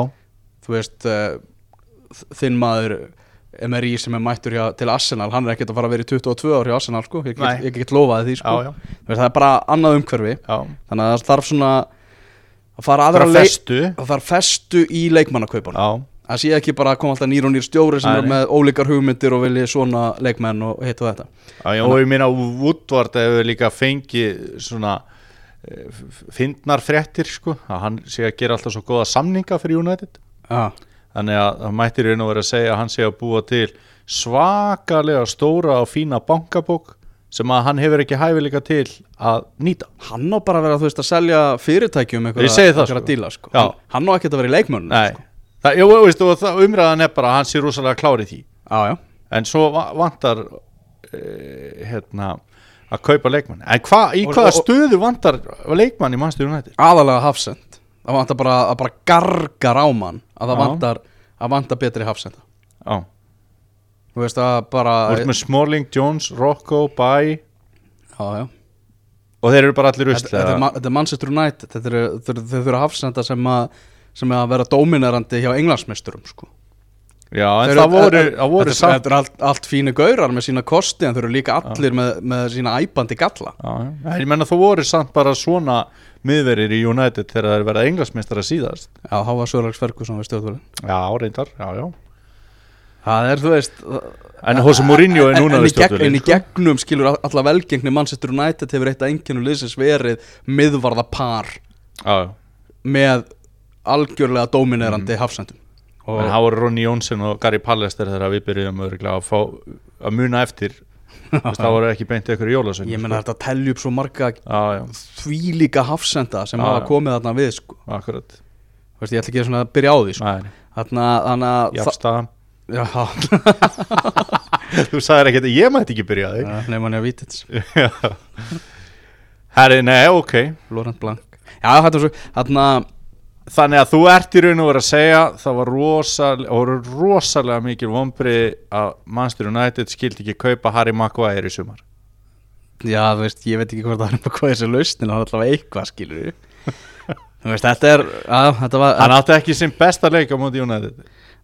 Speaker 2: þú veist uh, þ- þinn maður MRI sem er mættur hjá, til Arsenal hann er ekkert að fara að vera í 22 ár hjá Arsenal sko. ég
Speaker 3: Nei.
Speaker 2: get, ég get lofaði því sko.
Speaker 3: Já, já.
Speaker 2: Þú Veist, það er bara annað umhverfi
Speaker 3: já.
Speaker 2: þannig að það þarf svona að fara aðra
Speaker 3: Bara
Speaker 2: leik-
Speaker 3: festu.
Speaker 2: það þarf festu í leikmannakaupunum
Speaker 3: já.
Speaker 2: það sé ekki bara að koma alltaf nýr og nýr stjóri sem
Speaker 3: Nei,
Speaker 2: er
Speaker 3: nei.
Speaker 2: með ólíkar hugmyndir og vilji svona leikmenn og hitt og þetta
Speaker 3: Já, já, og ég meina Woodward hefur líka fengið svona eh, f- fyndnar fréttir sko, að hann sé að gera alltaf svo góða samninga fyrir United
Speaker 2: ah.
Speaker 3: þannig að hann mættir einu verið að segja að hann sé að búa til svakalega stóra og fína bankabók sem að hann hefur ekki hæfileika til að nýta
Speaker 2: hann á bara að vera þú veist að selja fyrirtækjum
Speaker 3: Ég segi það,
Speaker 2: einhverja
Speaker 3: sko.
Speaker 2: díla sko.
Speaker 3: Já.
Speaker 2: hann á ekkert að vera í sko. leikmönn
Speaker 3: Nei, Sko. það, jú, jú, veistu, og það, umræðan er bara að hann sé rosalega klár í því
Speaker 2: já, já.
Speaker 3: en svo va- vantar eh, hérna að kaupa leikmann en hva, í
Speaker 2: Og-
Speaker 3: hvaða
Speaker 2: og-
Speaker 3: stöðu vantar leikmann í mannstur United?
Speaker 2: aðalega hafsend það vantar bara að bara gargar á mann að það
Speaker 3: Já.
Speaker 2: vantar að vantar betri hafsenda
Speaker 3: Já
Speaker 2: þú veist að bara
Speaker 3: Þú ert með Smalling, Jones, Rocco, Bay
Speaker 2: já, já.
Speaker 3: og þeir eru bara allir
Speaker 2: Þetta, þetta, er,
Speaker 3: usla
Speaker 2: ma- þetta er Manchester United þetta eru þetta eru- þeir eru hafsenda sem að sem að vera dóminerandi hjá englandsmeisturum sko.
Speaker 3: Já, en
Speaker 2: Þeir
Speaker 3: það
Speaker 2: eru-
Speaker 3: voru,
Speaker 2: þetta-
Speaker 3: það voru
Speaker 2: þetta,
Speaker 3: samt
Speaker 2: þetta er allt, allt fínu gaurar með sína kosti en þeir eru líka allir með, með sína æpandi galla
Speaker 3: Já, já. Ég menna þú voru samt bara svona miðverir í United þegar þeir verða englansmeistara síðast
Speaker 2: já, háa Sörlags Ferguson við stjórnvölin
Speaker 3: Já, reyndar, já, já
Speaker 2: það er þú veist
Speaker 3: En Hosea Mourinho er
Speaker 2: en,
Speaker 3: núna
Speaker 2: en, í
Speaker 3: við
Speaker 2: gegn, en í
Speaker 3: stjórnvölinn sko.
Speaker 2: gegnum skilur all- alla velgengni Manchester United hefur eitt að enginu liðsins verið miðvarða par
Speaker 3: Já, já
Speaker 2: með algjörlega dóminerandi
Speaker 3: Mhm.
Speaker 2: hafsendum
Speaker 3: En það voru Ronny Jónsson og Gary Pallester þegar við byrjuðum örugglega að, fá, að muna eftir
Speaker 2: *laughs*
Speaker 3: Þú veist, Það voru ekki beint ykkur í jólasögn
Speaker 2: ég menna þetta telju upp svo marga
Speaker 3: Já, já,
Speaker 2: þvílíka hafsenda sem
Speaker 3: Já,
Speaker 2: hafa
Speaker 3: já.
Speaker 2: komið þarna við sko.
Speaker 3: akkurat
Speaker 2: Þú Veist, ég ætla ekki svona að byrja á því sko.
Speaker 3: Nei,
Speaker 2: þarna, þarna þa-
Speaker 3: jafnstaðan
Speaker 2: já,
Speaker 3: *laughs* Þú sagðir ekki að ég mætti ekki byrja á því
Speaker 2: nefnum hann ég að vítits
Speaker 3: *laughs* Herri, nei, ok
Speaker 2: Laurent Blanc já, þetta var svo þarna,
Speaker 3: Þannig að þú ert í raun og verið að segja það var rosalega, voru rosalega mikil vonbrið að Manchester United skildi ekki kaupa Harry Maguire í sumar
Speaker 2: já, þú veist, ég veit ekki hvort það er bara hvað þessi lausnin, það er allavega eitthvað skilur þú veist, þetta er að, þetta var,
Speaker 3: Hann átti ekki sinn besta leik á móti United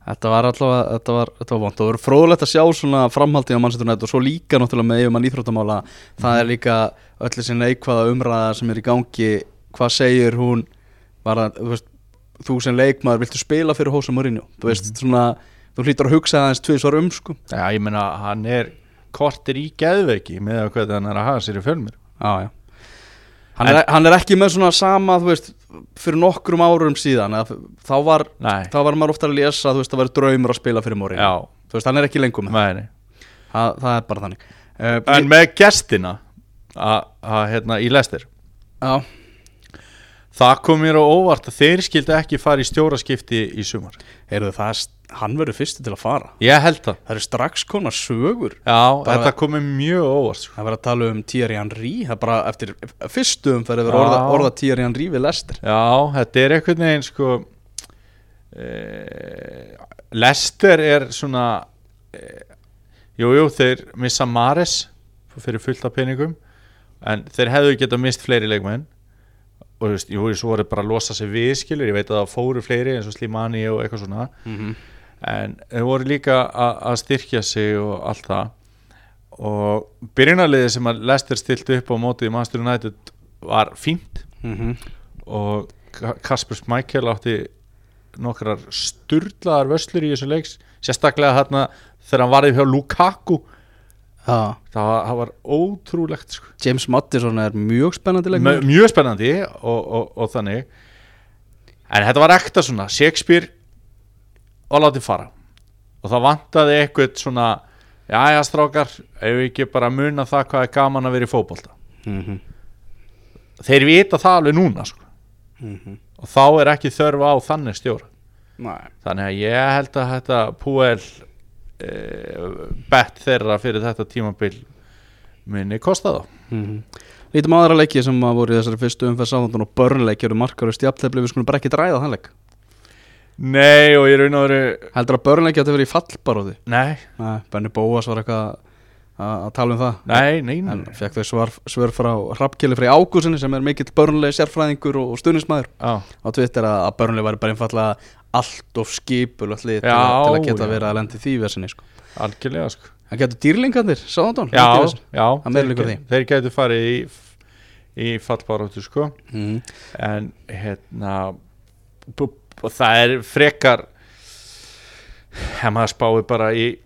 Speaker 2: Þetta var allavega, þetta var, þetta var vond og það voru fróðlegt að sjá svona framhaldið á mannsættunætt og svo líka náttúrulega með yfirmann íþróttamála það er líka öll þessi neikvæða umræða sem er í gangi hvað segir hún var það, þú, veist, þú sem leikmaður viltu spila fyrir Hósa Mourinho þú veist svona, þú hlýtur að hugsa aðeins tvisvar um sko
Speaker 3: Já, ég meina hann er kortir í geðveiki með að hvernig hann er að hafa sér í fjölmir
Speaker 2: Já, já Hann, er, e, hann er ekki með svona sama, þú veist, fyrir nokkrum árum síðan eða f- þá var,
Speaker 3: Nei.
Speaker 2: þá var maður ofta að lesa, þú veist, það var draumur að spila fyrir Mourinho
Speaker 3: Já.
Speaker 2: Þú veist, hann er ekki lengur með það,
Speaker 3: Mæni.
Speaker 2: það, það er bara þannig uh,
Speaker 3: En með gestina að, að, hérna, í lestir
Speaker 2: Já,
Speaker 3: Það kom mér á óvart að þeir skildi ekki fara í stjóraskipti í sumar
Speaker 2: heyrðu það, er st- hann verður fyrstu til að fara
Speaker 3: Ég held það
Speaker 2: Það eru strax konar sögur
Speaker 3: Já,
Speaker 2: Bara-
Speaker 3: þetta kom mér mjög á óvart sko.
Speaker 2: Það verður að tala um Thierry Henry Það er bara eftir fyrstu umferð
Speaker 3: Já.
Speaker 2: verður orða, orða Thierry Henry við lestir
Speaker 3: Já, þetta er einhvern veginn sko e, Lester er svona e, Jú, jú, þeir missa Mares fyrir fullt af peningum en þeir hefðu getað mist fleiri leikmenn og þú veist, jú, svo voru bara að losa sig við skilur, ég veit að það fóru fleiri eins og Slimani og eitthvað svona en þeir voru líka a- að styrkja sig og allt það og byrjunarliðið sem að Lester stilti upp á mótið í Master United var fínt Mhm. og Ka- Kasper Schmeichel átti nokkrar sturlaðar vöslur í þessu leiks sérstaklega þarna þegar hann varði hjá Lukaku
Speaker 2: Já.
Speaker 3: það, það var ótrúlegt sko.
Speaker 2: James Madison er mjög spennandi
Speaker 3: Mö-
Speaker 2: leikmaður
Speaker 3: mjög spennandi og, og, og þannig en þetta var ekta svona Shakespeare og látið fara og það vantaði eitthvað svona jæja strákar, ef við ekki bara muna það hvað er gaman að vera í fótbolta
Speaker 2: Mhm.
Speaker 3: þeir vita það alveg núna sko. og þá er ekki þörf á þannig stjóra
Speaker 2: Nei.
Speaker 3: þannig að ég held að þetta Púel e, bett þeirra fyrir þetta tímabil minni kosta þá
Speaker 2: Mhm. Lítum á aðra leiki sem að voru í þessari fyrstu umferð sáðandun og börnleiki eru markarust jafntefli við skulum bara ekki ræða þann leik
Speaker 3: Nei og ég raun og veru
Speaker 2: heldur að börnleiki að þetta verið í fallbaróði
Speaker 3: Nei,
Speaker 2: Nei, Benni Bóas var eitthvað að að tala um það
Speaker 3: nei, nei, nei.
Speaker 2: en fekk þau svar, svör frá Hrafkeli frá Ágúsinni sem er mikill börnlegi sérfræðingur og, og stuðnismæður
Speaker 3: Á,
Speaker 2: á Twitter að, að börnlegi væri bara einfallega allt of skipulegt lið til,
Speaker 3: Já,
Speaker 2: að- til að geta
Speaker 3: já.
Speaker 2: verið að lendi því versinni sko.
Speaker 3: algjörlega sko
Speaker 2: en getur dýrlingarnir, sáðandun
Speaker 3: Já, já
Speaker 2: Það meiri líkur því.
Speaker 3: þeir- Þeir gætu farið í, í fallbaróttu sko
Speaker 2: mm.
Speaker 3: en hérna b- b- það er frekar ef maður spáir bara í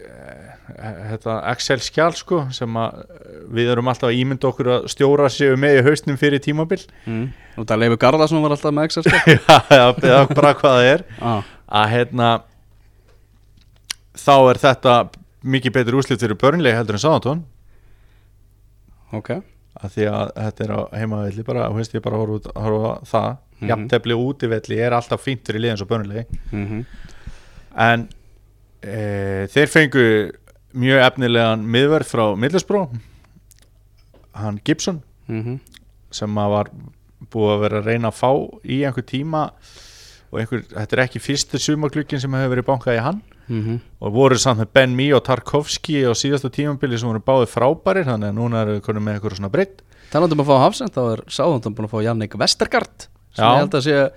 Speaker 3: eh, þetta Excel skjál sko sem að eh, við erum alltaf að ímynda okkur að stjóra séu með í hausnum fyrir tímabil *laughs*
Speaker 2: Mm. og það leifur Garðarsson var alltaf með XR sko.
Speaker 3: Já, eða bara hvað það er
Speaker 2: ah.
Speaker 3: að hérna þá er þetta mikið betur úslit fyrir börnlega heldur en sáðantón
Speaker 2: ok
Speaker 3: að því að þetta er á heimavelli bara, þú veist ég bara horfa, út- horfa á það mm
Speaker 2: Mhm.
Speaker 3: -hmm. jafntefli og útivelli er alltaf fínt fyrir liðin svo börnulegi
Speaker 2: mm
Speaker 3: en e, þeir fengu mjög efnilegan miðverð frá Middlesbró hann Gibson
Speaker 2: Mhm.
Speaker 3: sem að var búið að vera að reyna að fá í einhver tíma og einhver, þetta er ekki fyrstu sumaklukkin sem hefur verið bankað í hann
Speaker 2: Mhm.
Speaker 3: og voru samt með Ben Mee og Tarkovski á síðasta tímabili sem voru báði frábærir þannig að núna eru við konum með einhver svona breytt
Speaker 2: Talandum um að fá Hafsend, þá er Sáðandum búin að fá Jannik Vestergaard sem
Speaker 3: Já.
Speaker 2: ég held að sé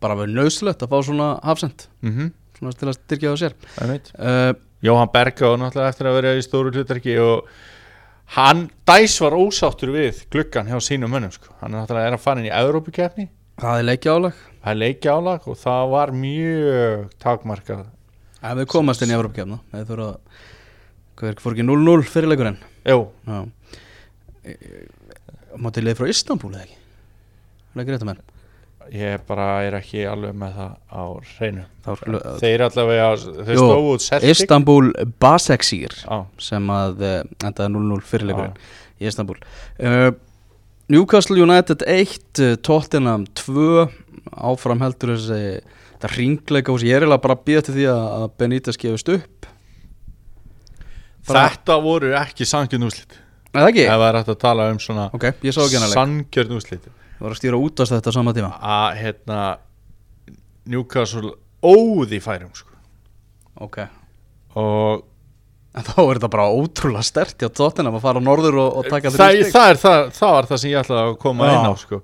Speaker 2: bara verið nöðslegt að fá svona Hafsend
Speaker 3: mm -hmm.
Speaker 2: svona til að styrkja á sér
Speaker 3: það veit
Speaker 2: uh,
Speaker 3: Jóhann Berga og náttúrulega eftir að vera í stóru hlutarki og hann dæs var ósáttur við gluggan hjá sínum mönnum sko. hann er náttúrulega er að fara inn í Evrópukefni
Speaker 2: Það er leikja álag
Speaker 3: það er leikja álag og það var mjög takmarkað
Speaker 2: Ef við komast inn í Evropakefna Við þurfum að Hvað er fór ekki 0-0 fyrir leikurinn
Speaker 3: Jú,
Speaker 2: Já E- e- Máttu leið frá Istanbúl eða ekki Það er greitt að menn
Speaker 3: ég bara er ekki alveg með það á hreinu
Speaker 2: Þá skulum-
Speaker 3: þeir allavega, þeir
Speaker 2: Jú,
Speaker 3: stóðu út Celtic
Speaker 2: Istanbúl Baseksýr
Speaker 3: Já,
Speaker 2: sem að eh, endaði 0-0 fyrirleikurinn í Istanbul uh, Newcastle United 1 eh, Tottenham 2 áfram heldur þessi þetta ringleika hús, ég er eiginlega bara að býða til því að að Benítez gefist upp Bara-
Speaker 3: þetta voru ekki sangjörn úslit
Speaker 2: eða ekki?
Speaker 3: ef það er hægt að tala um svona
Speaker 2: ok, ég sá ekki hann að leik
Speaker 3: sangjörn úslit
Speaker 2: það var að stýra útast þetta á sama tíma
Speaker 3: að hérna Newcastle óði færum sko.
Speaker 2: ok,
Speaker 3: og
Speaker 2: en þá er þetta bara ótrúlega stert hjá Tottenham að fara á norður og, og taka
Speaker 3: það,
Speaker 2: þrjú stig
Speaker 3: það, er, það, það var það sem ég ætlaði að koma
Speaker 2: Já.
Speaker 3: inn á sko.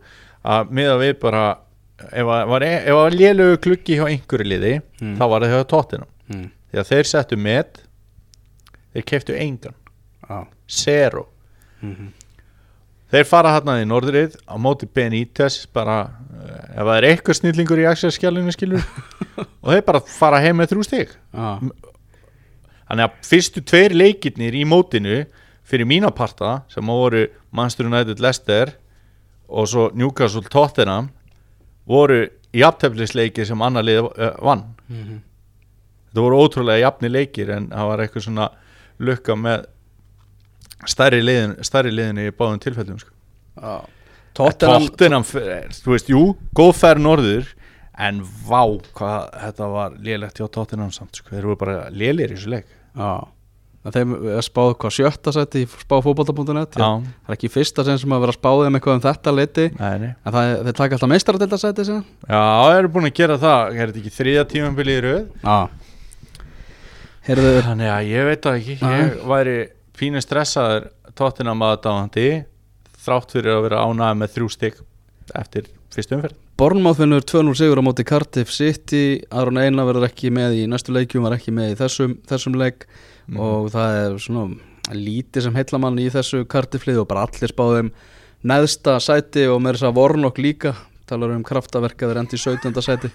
Speaker 3: að miða við bara ef að var, e, ef að var lélögu klukki hjá einhverju liði þá var það hjá tóttinum
Speaker 2: Mm,
Speaker 3: því að þeir settu met þeir keftu engan,
Speaker 2: já.
Speaker 3: zero
Speaker 2: Mhm.
Speaker 3: þeir fara hann í norðrið á móti Benítez bara, eh, ef það er eitthvað snillingur í axelskjálunum skilur og þeir bara fara heim með þrjú stig
Speaker 2: Já.
Speaker 3: Þannig að fyrstu tveir leikirnir í mótinu fyrir mína parta sem að voru Manchester United Leicester og svo Newcastle Tottenham voru jafntefnisleikir sem annar lið uh, vann Þetta voru ótrúlega jafni leikir en það var eitthvað svona lukka með stærri liðin, stærri liðin í báðum tilfellum sko.
Speaker 2: Já.
Speaker 3: Tottenham,
Speaker 2: Tottenham
Speaker 3: fer- þú veist, jú, góð fær norður en vá hvað þetta var lélegt hjá Tottenham samt sko. þeir voru bara lélir í þessu leik
Speaker 2: Já, en þeim er spáð hvað sjötta seti í spáfótbolta.net
Speaker 3: Já.
Speaker 2: Það er ekki í fyrsta sinn sem að vera að spáði um eitthvað um þetta leiti
Speaker 3: Nei, nei.
Speaker 2: En það, er- þeir taka alltaf meistaradelda seti síðan
Speaker 3: Já, það eru búin að gera það, er þetta ekki þriðja tímanbili í röð?
Speaker 2: Já Heyrðu,
Speaker 3: Þannig að ég veit það ekki, ég væri pínu stressaður tóttina maður dáhandi þrátt fyrir að vera ánægð með þrjú stygg eftir fyrst umferð.
Speaker 2: Bornmáð finnur 2-0 sigur á móti Cardiff City Aron Einar verður ekki með í næstu leikjum var ekki með í þessum, þessum leik
Speaker 3: Mhm.
Speaker 2: og það er svona lítið sem heilla mann í þessu Cardiff lið og bara allir spáðum neðsta sæti og með þess að Vornok líka talar um kraftaverkaður endi í 17.
Speaker 3: *laughs*
Speaker 2: sæti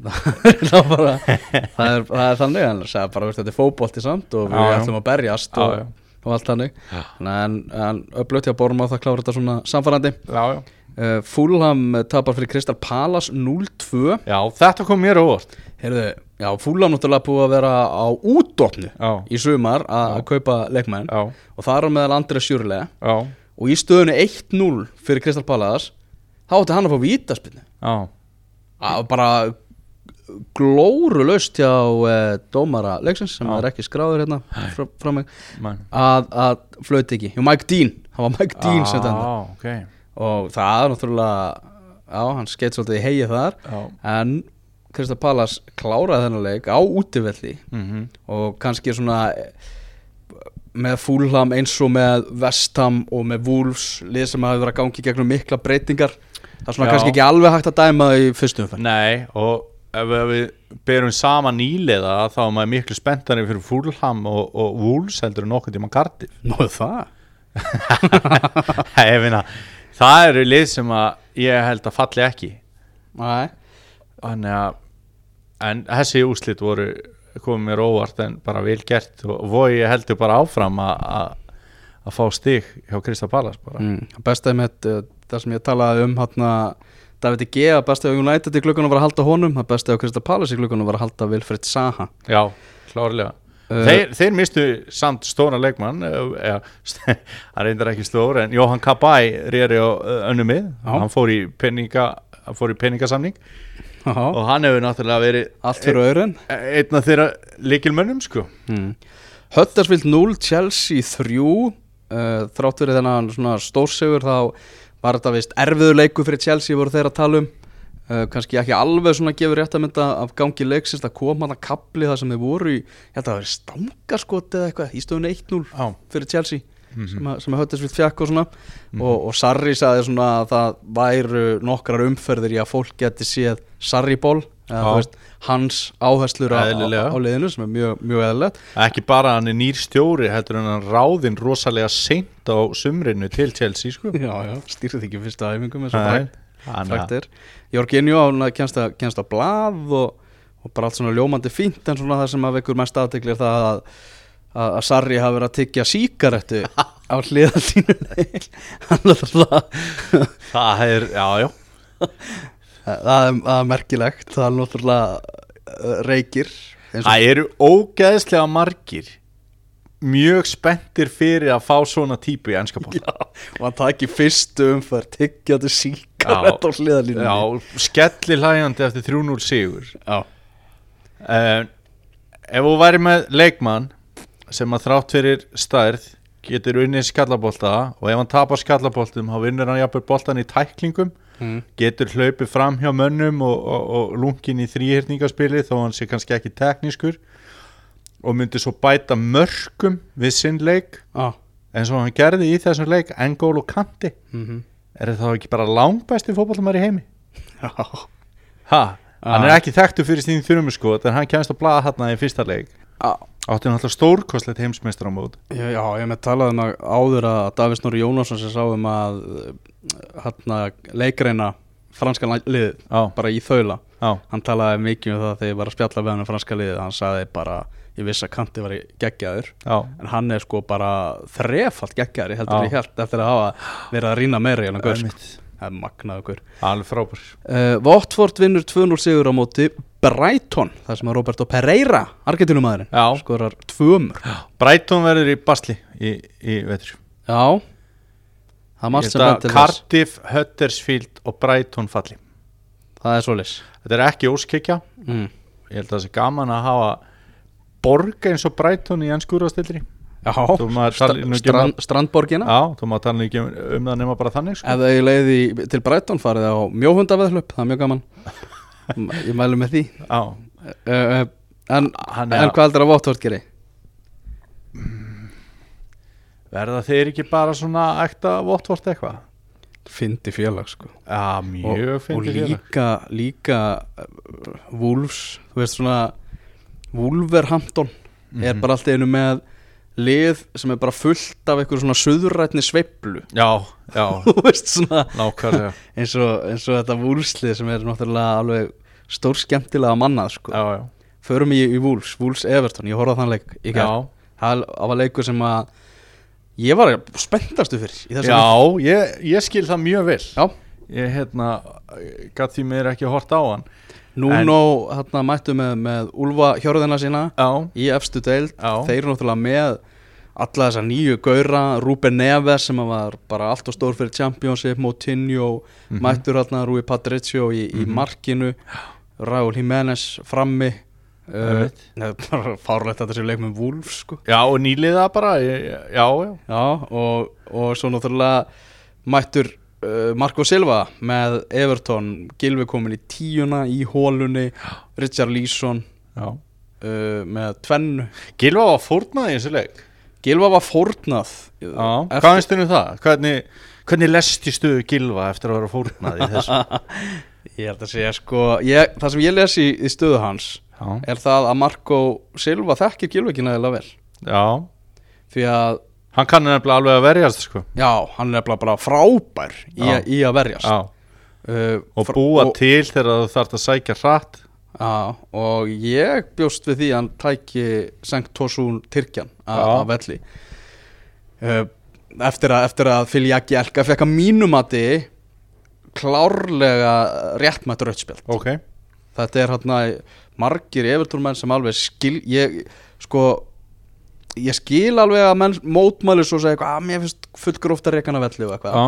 Speaker 2: það, er bara, það, er, það er þannig hann sagði bara veist, þetta er fótbolti samt og við
Speaker 3: Já, já.
Speaker 2: ætlum að berjast og,
Speaker 3: Já, já.
Speaker 2: og allt þannig Þannig að en, en upplögt hjá Borma það klára þetta svona samfarrandi
Speaker 3: já, já.
Speaker 2: uh, Fúlham tapar fyrir Kristal Palace 0-2
Speaker 3: já, þetta kom mér á óvart
Speaker 2: Heyrðu, já, Fúlham náttúrulega búið að vera á útdopnu
Speaker 3: Já.
Speaker 2: í sumar að að kaupa leikmenn
Speaker 3: Já.
Speaker 2: og það er meðal Andrið Sjúrlega
Speaker 3: Já,
Speaker 2: og í stöðunni 1-0 fyrir Kristal Palace þá átti hann að fá vítaspinnu
Speaker 3: já,
Speaker 2: Það var bara glóru löst hjá eh, dómara leiksins sem
Speaker 3: Já.
Speaker 2: er ekki skráður hérna frá, frá mig
Speaker 3: menn
Speaker 2: að, að flöyti ekki, Jú, Mike Dean það var Mike Dean sem þetta
Speaker 3: Já, ok
Speaker 2: og það er náttúrulega já, hann skeitt svolítið í heið þar
Speaker 3: Já.
Speaker 2: en Kristal Palace kláraði þennan leik á útivelli
Speaker 3: Mhm.
Speaker 2: og kannski svona eh, með Fúlham eins og með Vestham og með Wolves lið sem hafi verið að gangi gegnum mikla breytingar það er svona
Speaker 3: Já.
Speaker 2: kannski ekki alveg hægt að dæma það í fyrstu umferð
Speaker 3: Nei, og ef við- ef við berum sama nýliða þá er maður miklu spenntari fyrir Fulham og, og Wolves heldur en okkur tíma Cardiff
Speaker 2: Nú það
Speaker 3: Nei, ég finna, það eru lið sem að ég held að falli ekki
Speaker 2: Nei.
Speaker 3: Þannig að en þessi úslit voru komið mér óvart en bara vel gert og voru ég heldur bara áfram að- að að fá stig hjá Krista Ballas bara
Speaker 2: Mm. bestaði með uh, það sem ég talaði um hérna Davide G að bestaði á United í glukkanum var að halda honum að bestaði á Crystal Palace í glukkanum var að halda Vilfred Saha
Speaker 3: Já, klárlega
Speaker 2: Uh,
Speaker 3: þeir, þeir mistu samt stóra leikmann eh, eða, *laughs* hann reyndar ekki stór en Jóhann Kabay reyri á önnu mið,
Speaker 2: Já.
Speaker 3: hann fór í peninga hann fór í peningasamning
Speaker 2: Aha.
Speaker 3: og hann hefur náttúrulega verið
Speaker 2: allt fyrir öðrun
Speaker 3: e- einn af þeirra líkilmönnum sko
Speaker 2: Mm. Huddersfield 0, Chelsea 3 uh, þrátt fyrir þennan svona stórsegur þá var þetta vist erfiður leiku fyrir Chelsea voru þeir að tala um uh, kannski ekki alveg svona gefur rétt að mynda af gangi leiksins það kom hann að kapli það sem þeir voru í ég held að það verið stangaskot eða eitthvað í stöðunni 1-0
Speaker 3: Já. Mhm.
Speaker 2: fyrir Chelsea sem, að, sem að Huddersfield fjakk og svona og, og Sarri sagði svona að það væru nokkrar umferðir í að fólk geti séð Sarri-ból eða
Speaker 3: Já.
Speaker 2: þú veist hans áherslur á,
Speaker 3: Eðlilega.
Speaker 2: á, á liðinu sem er mjög, mjög eðlilegt
Speaker 3: ekki bara hann er nýr stjóri heldur en hann ráðinn rosalega seint á sumrinu til Chelsea sko
Speaker 2: Já, já, stýrði ekki fyrsta æfingum eins og
Speaker 3: Nei,
Speaker 2: frækt-
Speaker 3: hann-
Speaker 2: frækt er Jorginjó, hann kennst að, kennst að blað og, og bara allt svona ljómandi fínt en svona það sem að vekur mest aðtekli er það að, að, að Sarri hafi verið að tyggja síkarettu á hliðan sínu *laughs* hann er það
Speaker 3: það er, já, já
Speaker 2: það er, það er merkilegt það er náttúrulega uh, reykir eins og
Speaker 3: það eru ógeðslega margir mjög spenntir fyrir að fá svona típu í ennska bóla
Speaker 2: Já, og hann taki fyrstu umferð tyggjandi síkarett á hliðalínu
Speaker 3: Já, skelli hlægjandi eftir 3-0 sigur
Speaker 2: já,
Speaker 3: uh, Ef þú væri með leikmann sem að þrátt fyrir stærð getur unnið skallabolta og ef hann tapar skallaboltum þá vinnur hann jafnvel boltan í tæklingum
Speaker 2: Mm.
Speaker 3: getur hlaupið fram hjá mönnum og, og, og lungin í þrýhyrningaspili þó hann sé kannski ekki teknískur og myndi svo bæta mörkum við sinn leik
Speaker 2: já.
Speaker 3: eins og hann gerði í þessum leik Engól og Kanti
Speaker 2: Mhm.
Speaker 3: er það ekki bara langbæsti fótballmæri heimi?
Speaker 2: já.
Speaker 3: Ha, hann er ekki þekktu fyrir sín þurfum sko en hann kemst að blaða hann í fyrsta leik
Speaker 2: já.
Speaker 3: átti náttúrulega stórkostlegt heimsmeistar á mót
Speaker 2: Já, já, ég hef með talað um að áður að Davís Nóri Jónásson sem sáum að hérna leikreina franska la- liðið,
Speaker 3: Já.
Speaker 2: bara í þaula
Speaker 3: Já.
Speaker 2: hann talaði mikið um það þegar ég var að spjalla við hann um franska liðið, hann sagði bara ég viss að Kanti var geggjaður
Speaker 3: Já.
Speaker 2: en hann er sko bara þrefalt geggjaður ég heldur
Speaker 3: Já.
Speaker 2: ég held eftir að hafa verið að rýna meira í hann gaur, sko.
Speaker 3: Einmitt.
Speaker 2: það er magnaðu gaur
Speaker 3: alveg frábær
Speaker 2: uh, Votford vinnur 2-0 sigur á móti Brighton, þar sem að Roberto Pereira
Speaker 3: Já.
Speaker 2: Argentinumæðurinn, skorar tvömur
Speaker 3: Brighton verður í basli í, í vetur
Speaker 2: Já Það er margt sem bendir þess
Speaker 3: Cardiff, Huddersfield og Brighton falli
Speaker 2: Það er svoleiðis
Speaker 3: þetta er ekki óskikja
Speaker 2: mm.
Speaker 3: ég held að það sé gaman að hafa borga eins og Brighton í ennskúrastildri
Speaker 2: Já,
Speaker 3: Þú maður tali-
Speaker 2: Stra-
Speaker 3: nú ekki
Speaker 2: strand, strandborgina
Speaker 3: Já, þú maður tala ekki um, um það nema bara þannig sko.
Speaker 2: Ef það er leið í, til Breitón farið á mjóhundaveðhlaup Það er mjög gaman M- Ég mælu með því
Speaker 3: Já,
Speaker 2: uh, uh, En,
Speaker 3: Hann er-
Speaker 2: en hvað heldur að Votvort geri?
Speaker 3: verða þeir ekki bara svona ekta vottvort eitthvað?
Speaker 2: Fyndi félag sko
Speaker 3: Já, mjög
Speaker 2: Og
Speaker 3: fyndið félag.
Speaker 2: líka, líka uh,
Speaker 3: Mhm.
Speaker 2: Wolves Þú veist svona Wolverhampton Er bara alltaf einu með lið sem er bara fullt af einhver svona suðrætni sveiflu *laughs*
Speaker 3: já, já,
Speaker 2: þú veist svona
Speaker 3: *laughs* nákvæmlega
Speaker 2: eins og, eins og þetta vúlslið sem er náttúrulega alveg stór skemmtilega mannað sko.
Speaker 3: já, já,
Speaker 2: förum í, í Wolves, Wolves Everton ég horfði á þann leik í
Speaker 3: já,
Speaker 2: gær það var leikur sem að ég var spenntastu fyrir í þessu leik.
Speaker 3: já ég, ég skil það mjög vel
Speaker 2: Já.
Speaker 3: ég hérna gatt því mér ekki að horta á hann
Speaker 2: Nuno hérna, mættu með, með Ulfa hjörðina sína
Speaker 3: já,
Speaker 2: í efstu deild
Speaker 3: Já.
Speaker 2: þeir eru náttúrulega með alla þessa nýju gaura, Ruben Neves sem að var bara allt og stór fyrir Championship Moutinho, mættur hérna Rui Patricio í, í markinu Raúl Jiménez frammi uh,
Speaker 3: Einmitt.
Speaker 2: það er bara fárlegt að þessi leik með Wolves sko
Speaker 3: já og nýliða bara ég, já, já,
Speaker 2: Já, og, og svo náttúrulega mættur uh, Marko Silva með Everton, Gilvi komin í tíuna í hólunni, Richard Leeson
Speaker 3: já
Speaker 2: uh, með tvennu.
Speaker 3: Gilva var fórnað í þessu leik
Speaker 2: Gilva var fórnað. Já,
Speaker 3: Hvað finnst þér um það? Hvernig, hvernig lesti stuðu Gilva eftir að vera fórnað í þessu?
Speaker 2: Ég held að segja sko, ég, það sem ég les í, í stöðu hans
Speaker 3: *laughs* já,
Speaker 2: er það að Marko Silva þekkir Gilvi ekki nægilega vel.
Speaker 3: já
Speaker 2: Því að,
Speaker 3: Hann kann nefnilega alveg að verjast sko
Speaker 2: já, hann er bara, bara frábær í,
Speaker 3: Já.
Speaker 2: að- í að verjast.
Speaker 3: Já,
Speaker 2: Uh,
Speaker 3: og
Speaker 2: fr-
Speaker 3: búa til þegar þú þarft að sækja hratt
Speaker 2: Já, og ég bjóst við því að hann tæki Sankt Tosun Tyrkjan
Speaker 3: Já.
Speaker 2: a- af velli Eh, eftir að, eftir að Filjaki Elka fekk að mínumati klárlega réttmætt rauðspjald
Speaker 3: Ok
Speaker 2: þetta er hann að margir evertúrmenn sem alveg skil ég, sko, ég skil alveg að menn mótmæli svo segja eitthvað að mér finnst fullgróft að reikana velli og eitthvað
Speaker 3: Já,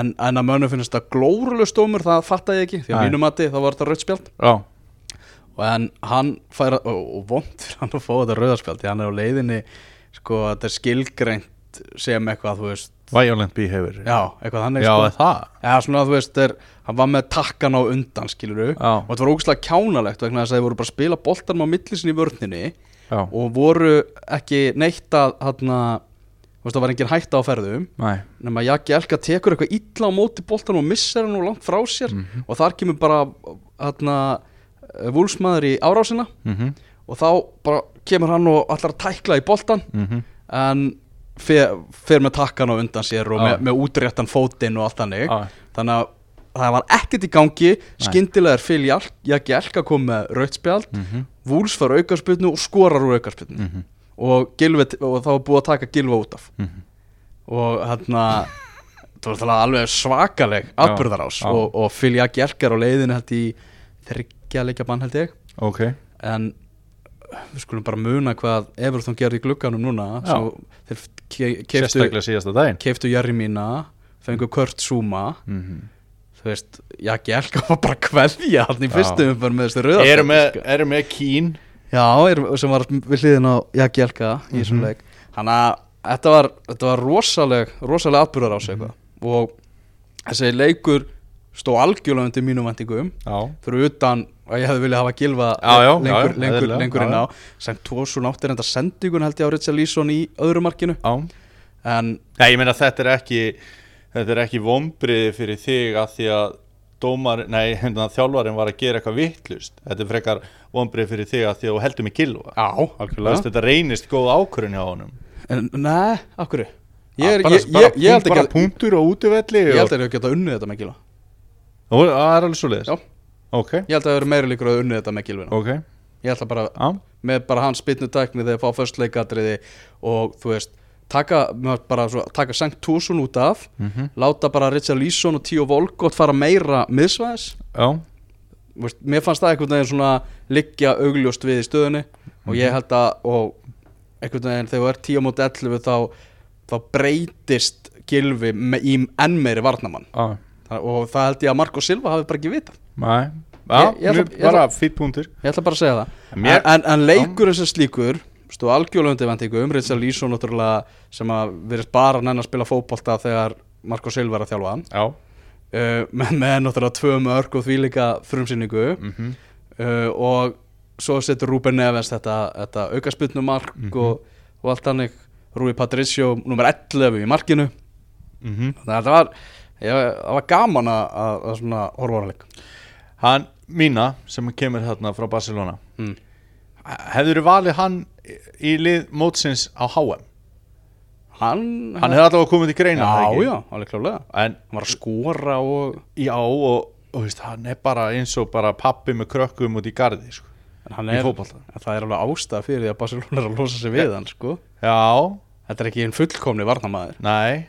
Speaker 2: en, en að mönnum finnst það glórulega stómur það fatta ég ekki, því að
Speaker 3: Nei.
Speaker 2: mínumati þá var þetta rauðspjald
Speaker 3: já,
Speaker 2: og en hann fær að, og, og vond fyrir hann að fá þetta rauðarspjald því hann er á leiðinni, sko, þetta er skilgreint sem eitthvað, þú veist
Speaker 3: violent behavior
Speaker 2: já, eitthvað þannig,
Speaker 3: já er
Speaker 2: sko
Speaker 3: það
Speaker 2: Já, svona, þú veist, er, hann var með takkan á undan, skilur
Speaker 3: Já.
Speaker 2: og þetta var ógæslega kjánalegt vegna þess að þeir voru bara að spila boltanum á millisin í vörninni
Speaker 3: Já,
Speaker 2: og voru ekki neitt að, hann þú veist, það var engin hætta á ferðum
Speaker 3: næ,
Speaker 2: nema Jaki Elka tekur eitthvað illa á móti boltanum og missar hann og langt frá sér
Speaker 3: Mhm.
Speaker 2: og þar kemur bara, hann vúlsmaður í árásina
Speaker 3: mhm,
Speaker 2: og þá bara kemur hann og allar að tækla í boltan
Speaker 3: mhm
Speaker 2: en fer, fer með takkan á undan sér og
Speaker 3: Já.
Speaker 2: með, með útréttan fótinn og allt þannig
Speaker 3: Já.
Speaker 2: þannig að það var ekkert í gangi skyndilega er Phil Jark- Jaki Elka kom með rautspjald, mm
Speaker 3: Mhm.
Speaker 2: -hmm. Vúls fær aukarspilnu og skorar úr aukarspilnu og, gilvi, og þá er búið að taka Gilva út af
Speaker 3: Mhm.
Speaker 2: og hérna þú veist það alveg svakaleg atbyrðarás
Speaker 3: já.
Speaker 2: og, og Phil Jaki Elka er á leiðinu held í þryggja leikja bann held ég
Speaker 3: Ok,
Speaker 2: en við skulum bara muna hvað Everton gerði í glugganum núna
Speaker 3: Já.
Speaker 2: svo þeir ke-
Speaker 3: sérstaklega
Speaker 2: keyptu-
Speaker 3: síðasta daginn
Speaker 2: keyptu Jarri mína fengu Kurt Zuma
Speaker 3: Mhm.
Speaker 2: þú veist, Jaki Elka var bara að kveðja hann í
Speaker 3: Já.
Speaker 2: fyrstum umfærum með þessu rauða
Speaker 3: Eru
Speaker 2: spjaldi,
Speaker 3: með,
Speaker 2: sko.
Speaker 3: eru með kín
Speaker 2: Já, er, sem var við hliðin á Jaki Elka í
Speaker 3: Mhm.
Speaker 2: þessum leik Þannig að þetta var, þetta var rosaleg, rosaleg atbyrðar á sig
Speaker 3: Mhm.
Speaker 2: og þessi leikur stó algjörlega undir mínum vendingum
Speaker 3: Já,
Speaker 2: fyrir utan að ég hefði viljað hafa gilva
Speaker 3: Já,
Speaker 2: lengur,
Speaker 3: já, já, já,
Speaker 2: lengur,
Speaker 3: eðlilega,
Speaker 2: lengur
Speaker 3: já,
Speaker 2: inn
Speaker 3: já.
Speaker 2: á sem Tosun áttir enda sendingun held ég á Richard Leeson í öðru markinu
Speaker 3: já
Speaker 2: en
Speaker 3: Já, ég meina þetta er ekki þetta er ekki vombriði fyrir þig að því að dómar, nei, *laughs* hérna, þjálfarinn var að gera eitthvað vittlust þetta er frekar vombriði fyrir þig að því að þú heldur mig gilva
Speaker 2: já,
Speaker 3: Þú veist, þetta reynist góð ákvörun hjá honum
Speaker 2: en, Nei, akkur ég, er-
Speaker 3: Ah, bara,
Speaker 2: ég, ég, ég held ekki
Speaker 3: bara
Speaker 2: að
Speaker 3: punktur og útivelli
Speaker 2: ég
Speaker 3: og,
Speaker 2: held að ég geta unnið þetta með gilva
Speaker 3: og, það er alveg svo leiðis
Speaker 2: Já.
Speaker 3: ok,
Speaker 2: ég held að það eru meira líkur að unnið þetta með gilvina
Speaker 3: ok,
Speaker 2: ég held að bara
Speaker 3: já,
Speaker 2: með bara hans bitnu tækni þegar fá först leikadriði og þú veist taka, maður bara svo, taka Sankt Túsun út af
Speaker 3: Mhm.
Speaker 2: láta bara Richard Leeson og Tío Volkot fara meira miðsvæðis
Speaker 3: já,
Speaker 2: Þú veist, mér fannst það einhvern veginn svona liggja augljóst við í stöðunni og
Speaker 3: Mhm.
Speaker 2: ég held að og einhvern veginn þegar þú er 10 mot 11 þá, þá breytist gilfi me, í enn meiri varnamann
Speaker 3: já
Speaker 2: Þa- og það held ég að Marko Silva hafi bara ekki vitað
Speaker 3: Nei, já,
Speaker 2: Ég- ég ætla-
Speaker 3: mjög-
Speaker 2: ég
Speaker 3: bara fýtt punktur
Speaker 2: ég ætla bara að segja það
Speaker 3: En mér-
Speaker 2: en, en, en leikurinn sem slíkur stóð algjörlega undir vendingu um Richard Leeson náttúrulega sem að verið bara nenn að spila fótbolta þegar Marko Silva er að þjálfa hann
Speaker 3: já,
Speaker 2: uh, með, með náttúrulega tvö mörg og þvílíka frumsýningu
Speaker 3: Mhm.
Speaker 2: uh, og svo setur Ruben Neves þetta, þetta aukasputnumark
Speaker 3: Mhm.
Speaker 2: og, og allt hannig Rui Patricio nummer 11 í markinu
Speaker 3: mhm
Speaker 2: þannig að það var, ég, það var gaman að, að, að svona horfa á hann leik
Speaker 3: hann, Mina, sem kemur þarna frá Barcelona
Speaker 2: Mm.
Speaker 3: hefur valið hann í- í lið mótsins á HM
Speaker 2: Hann,
Speaker 3: Hann hefði allavega komið til greina er það
Speaker 2: Já,
Speaker 3: ekki?
Speaker 2: já, alveg klálega
Speaker 3: En
Speaker 2: Hann var að skora og
Speaker 3: já og, og veist, hann er bara eins og bara pappi með krökkum út í gardi sko.
Speaker 2: en hann
Speaker 3: Í
Speaker 2: er,
Speaker 3: fótbolta.
Speaker 2: en Það er alveg ástæða fyrir því að Barcelona er að losa sig við hann sko.
Speaker 3: Já,
Speaker 2: Þetta er ekki einn fullkomni varnamaður
Speaker 3: nei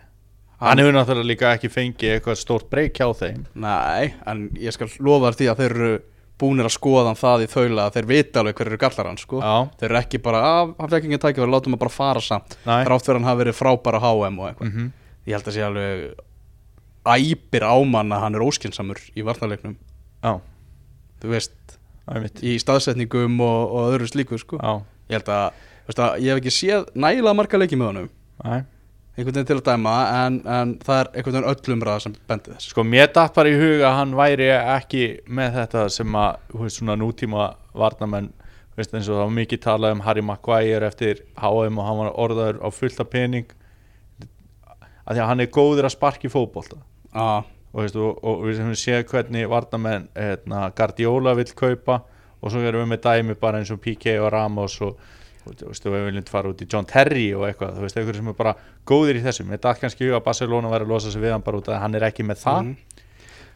Speaker 3: Hann hefur náttúrulega líka ekki fengið eitthvað stórt breyk hjá þeim
Speaker 2: Nei, en ég skal lofa þér því að þeir eru búnir að skoða hann það í þaula að þeir vita alveg hver eru gallar hann sko.
Speaker 3: Já,
Speaker 2: Þeir eru ekki bara, að hann fekk engin tækifæri, látum að bara fara samt
Speaker 3: Nei.
Speaker 2: Þrátt fyrir að hann hafi verið frábæra HM og eitthvað
Speaker 3: Mhm.
Speaker 2: Ég held að sé alveg æpir ámann að hann er óskinsamur í varnarleiknum
Speaker 3: já,
Speaker 2: Þú veist,
Speaker 3: það er mitt
Speaker 2: í staðsetningum og, og öðru slíku sko.
Speaker 3: Já,
Speaker 2: Ég held að, þú veist að, ég hef ekki séð nægilega marga leiki með honum
Speaker 3: nei
Speaker 2: einhvern veginn til að dæma en, en það er einhvern veginn öll umræða sem bendir þess
Speaker 3: Sko, mér datt bara í huga að hann væri ekki með þetta sem að, þú veist, svona nútíma varnamenn, þú veist, eins og það var mikið talað um Harry Maguire eftir HM og hann var orðaður á fullta pening af því að hann er góður að sparki fótbolta
Speaker 2: ah,
Speaker 3: og, veist, og, og við sem séð hvernig varnamenn hérna, Guardiola vill kaupa og svo erum við með dæmi bara eins og PK og Ramos og og, þú veist, og við viljum fara út í John Terry og eitthvað, þú veist, einhverjum sem er bara góðir í þessu, mér datt kannski í huga að Barcelona væri að losa sig við hann bara út að hann er ekki með það
Speaker 2: Mhm.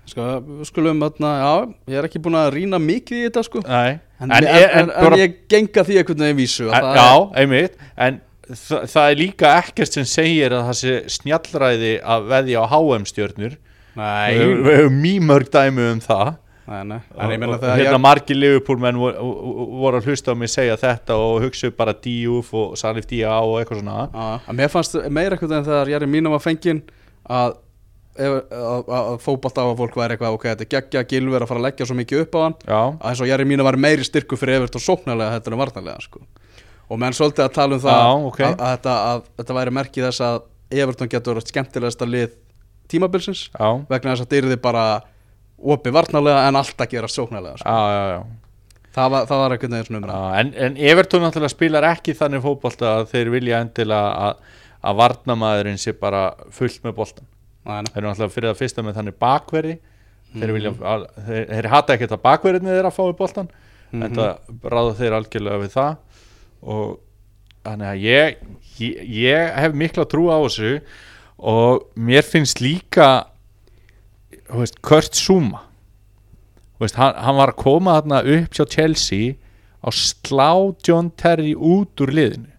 Speaker 2: sko, við skulum þarna, já, ég er ekki búin að rýna mikið í þetta sko
Speaker 3: Nei,
Speaker 2: en, en, en, en,
Speaker 3: bara-
Speaker 2: ég genga því einhvern veginn vísu að
Speaker 3: en-
Speaker 2: það
Speaker 3: Já, einmitt En þa það er líka ekkert sem segir að það sé snjallræði að veðja á HM-stjörnur Við
Speaker 2: er,
Speaker 3: höfum-
Speaker 2: nei,
Speaker 3: við höfum mýmörg dæmi um það
Speaker 2: nei, nei, en ég meina
Speaker 3: Og- og
Speaker 2: þegar
Speaker 3: Hérna
Speaker 2: ég
Speaker 3: margir Liverpool-menn voru, voru að hlusta á mig segja þetta og hugsa upp bara Diouf og Salif Dia og eitthvað svona
Speaker 2: að að mér fannst meira einhvern veginn þegar Jari mínum var fenginn að ef- að, að, að fótballt á að fólk væri eitthvað ok, þetta er geggja gilver að fara að leggja svo mikið upp á hann
Speaker 3: Já,
Speaker 2: að eins og Jari mínu var meiri styrku fyrir Everton sóknarlega heldur en varnarlega sko. og menn svolítið að tala um það
Speaker 3: Já, ok.
Speaker 2: að, að, þetta, að þetta væri merkið þess að Everton getur verið skemmtilegasta lið tímabilsins
Speaker 3: já,
Speaker 2: vegna þess að þetta yrði bara opið varnarlega en alltaf gera sóknarlega sko.
Speaker 3: já, já, já.
Speaker 2: það, var, það var einhvern veginn svona umræða
Speaker 3: Já, en, en Everton náttúrulega spilar ekki þannig fótbolta að þeir vilja endilega að, að varnamaðurinn sé bara fullt með boltan
Speaker 2: Nei, nei.
Speaker 3: þeir eru náttúrulega fyrir það fyrsta með þannig bakverði þeir, vilja, al, þeir, þeir hata ekkert að bakverðinni þeirra fái boltan en það ráða þeir algjörlega við það og þannig að ég, ég, ég hef mikla trú á þessu og mér finnst líka þú veist, Kurt Zuma þú veist, hann, hann var að koma þarna upp hjá Chelsea á slá John Terry út úr liðinu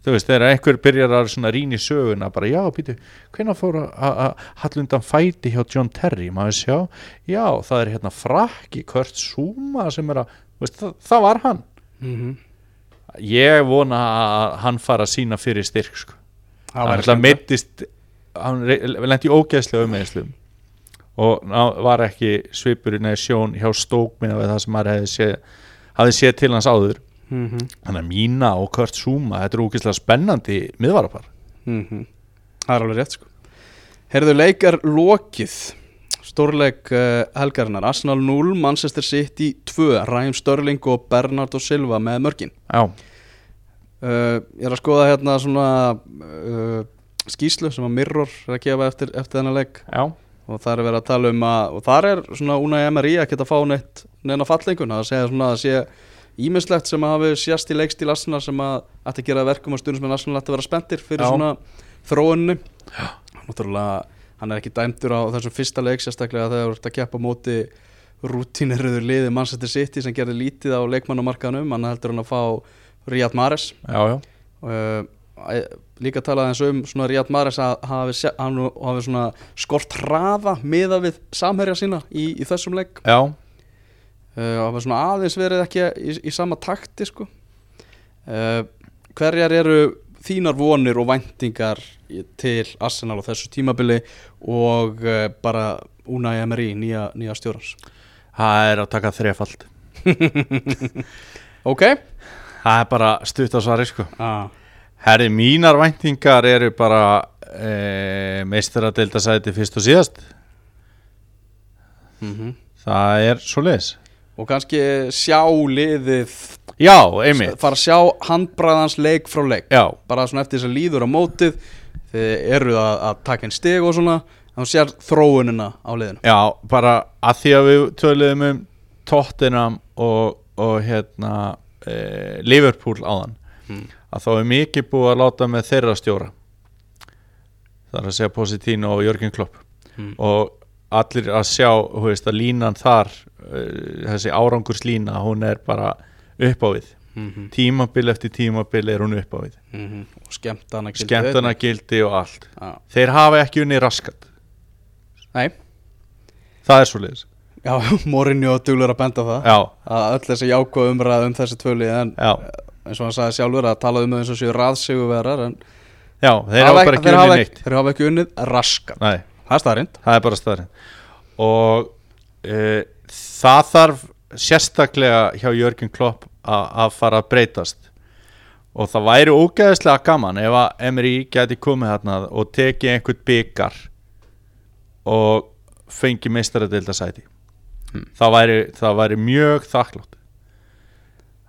Speaker 3: þú veist, þegar einhver byrjar að svona rýna í söguna, bara já, býtu hvenær fór að- að að hallundan fæti hjá John Terry, maður sjá já, það er hérna frakki, Kurt Zuma sem er að, þú veist, það, það var hann
Speaker 2: Mhm.
Speaker 3: ég vona að hann fara að sína fyrir styrk, sko
Speaker 2: Það
Speaker 3: hann
Speaker 2: væri
Speaker 3: alltaf
Speaker 2: skemmtilegt.
Speaker 3: meittist hann lendi í ógeðslega umeiðslum og ná, var ekki svipurinn eða sjón hjá stók minna við það sem maður hefði séð, hafði séð til hans áður
Speaker 2: Mhm.
Speaker 3: þannig að Mína og Kurt Zuma þetta er ógeðslega spennandi miðvarapar
Speaker 2: Mhm. það er alveg rétt sko Herðu leikar lokið Stórleik uh, helgarinnar Arsenal 0, Manchester City 2 Ræm Störling og Bernardo Silva með mörkin
Speaker 3: já,
Speaker 2: Uh, ég er að skoða hérna svona uh, skýslu sem að Mirror er að gefa eftir, eftir þennan leik
Speaker 3: já,
Speaker 2: og þar er verið að tala um að og þar er svona Unai Emery að geta fá neitt neina fallengun að segja svona að sé ímislegt sem að hafi sérst í leikstíl Arsenal sem að ætti að gera að verkum að stundum sem Arsenal ætti að vera spenntir fyrir
Speaker 3: Já.
Speaker 2: svona þróunni Náttúrulega hann er ekki dæmdur á þessum fyrsta leik sérstaklega þegar þú ert að keppa á móti rútiniröður liði Manchester City sem gerði lítið á leikmannamarkaðanum hann heldur hann að fá Riyad Mahrez
Speaker 3: já, já
Speaker 2: uh, að- líka talaði eins um svona Ríad Mares að hafi, sé- hann hafi svona skort hraða miða við samherja sína í, í þessum leik
Speaker 3: já,
Speaker 2: uh, hafi svona aðeins verið ekki í, í sama takti sko uh, hverjar eru þínar vonir og væntingar í- til Arsenal á þessu tímabili og uh, bara Unai Emery, nýja, nýja stjórans
Speaker 3: það er að taka þrefald
Speaker 2: ok
Speaker 3: það er bara stutt á svari sko
Speaker 2: ah.
Speaker 3: herri, mínar væntingar eru bara e, meistaradeildasæti fyrst og síðast
Speaker 2: mm
Speaker 3: það er svo leis
Speaker 2: og kannski sjá liðið
Speaker 3: já, einmitt
Speaker 2: fara að sjá handbræðans leik frá leik
Speaker 3: já,
Speaker 2: bara svona eftir þess að líður á mótið þið eru að, að taka einn stig og svona þá sér þróunina á liðinu
Speaker 3: Já, bara að því að við töluðum um Tottenham og, og hérna e, Liverpool áðan
Speaker 2: Mm.
Speaker 3: að þá er mikið búið að láta með þeirra stjóra það er að segja Positino og Jörgen Klopp og allir að sjá þú veist, að línan þar eh, þessi árangurslína hún er bara upp á við tímabil eftir tímabil er hún upp á við
Speaker 2: og skemmtana
Speaker 3: skemmtana gildi og allt
Speaker 2: Já.
Speaker 3: þeir hafa ekki unni raskat
Speaker 2: Nei,
Speaker 3: það er svo leiðis
Speaker 2: já, *laughs* Morinju og duglur að benda á það
Speaker 3: já,
Speaker 2: að öll þessi jákvæð umræð um þessi tvöli en
Speaker 3: já,
Speaker 2: eins og hann sagði sjálfur að tala um þau eins og séu raðsiguverar en
Speaker 3: já, þeir hafa bara ekki
Speaker 2: þeir
Speaker 3: unni
Speaker 2: hafa
Speaker 3: neitt
Speaker 2: þeir hafa ekki unnið raskat
Speaker 3: Nei,
Speaker 2: það er staðrind
Speaker 3: það er bara staðarinn og uh, það þarf sérstaklega hjá Jörgen Klopp a- að fara að breytast og það væri ógeðislega gaman ef að Emery gæti komið hérna og tekið einhvern byggar og fengi meistaradildasæti það, væri, það væri mjög þakklátt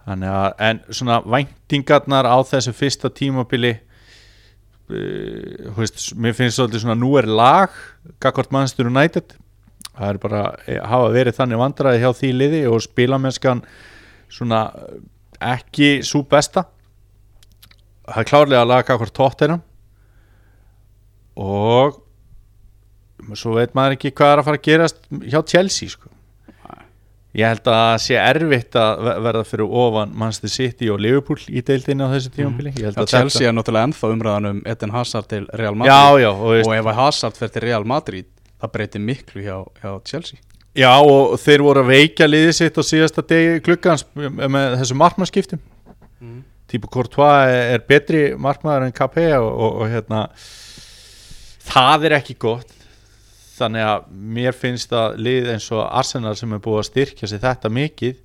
Speaker 3: þannig að en svona væntingarnar á þessu fyrsta tímabili uh, veist, mér finnst svolítið svona nú er lag Gagvart Manchester United það er bara eh, hafa verið þannig vandræði hjá því liði og spilamennskan svona eh, ekki svo besta það er klárlega að laga Gagvart Tottenham og svo veit maður ekki hvað er að fara að gerast hjá Chelsea sko Ég held að það sé erfitt að ver- verða fyrir ofan Manchester City og Liverpool í deildinni á þessu tímabili Ég
Speaker 2: Já,
Speaker 3: held að þetta-
Speaker 2: Chelsea er náttúrulega ennþá umræðan um Eden Hazard til Real
Speaker 3: Já,
Speaker 2: Madrid
Speaker 3: já, og, veist,
Speaker 2: og ef að Hazard fer til Real Madrid það breytir miklu hjá, hjá Chelsea
Speaker 3: já, og þeir voru að veikja liðið sitt á síðasta degi klukkans með þessu markmannskiptum Típu Courtois er- er betri markmaður en KP og, og, og hérna það er ekki gott þannig að mér finnst að lið eins og Arsenal sem er búið að styrkja sig þetta mikið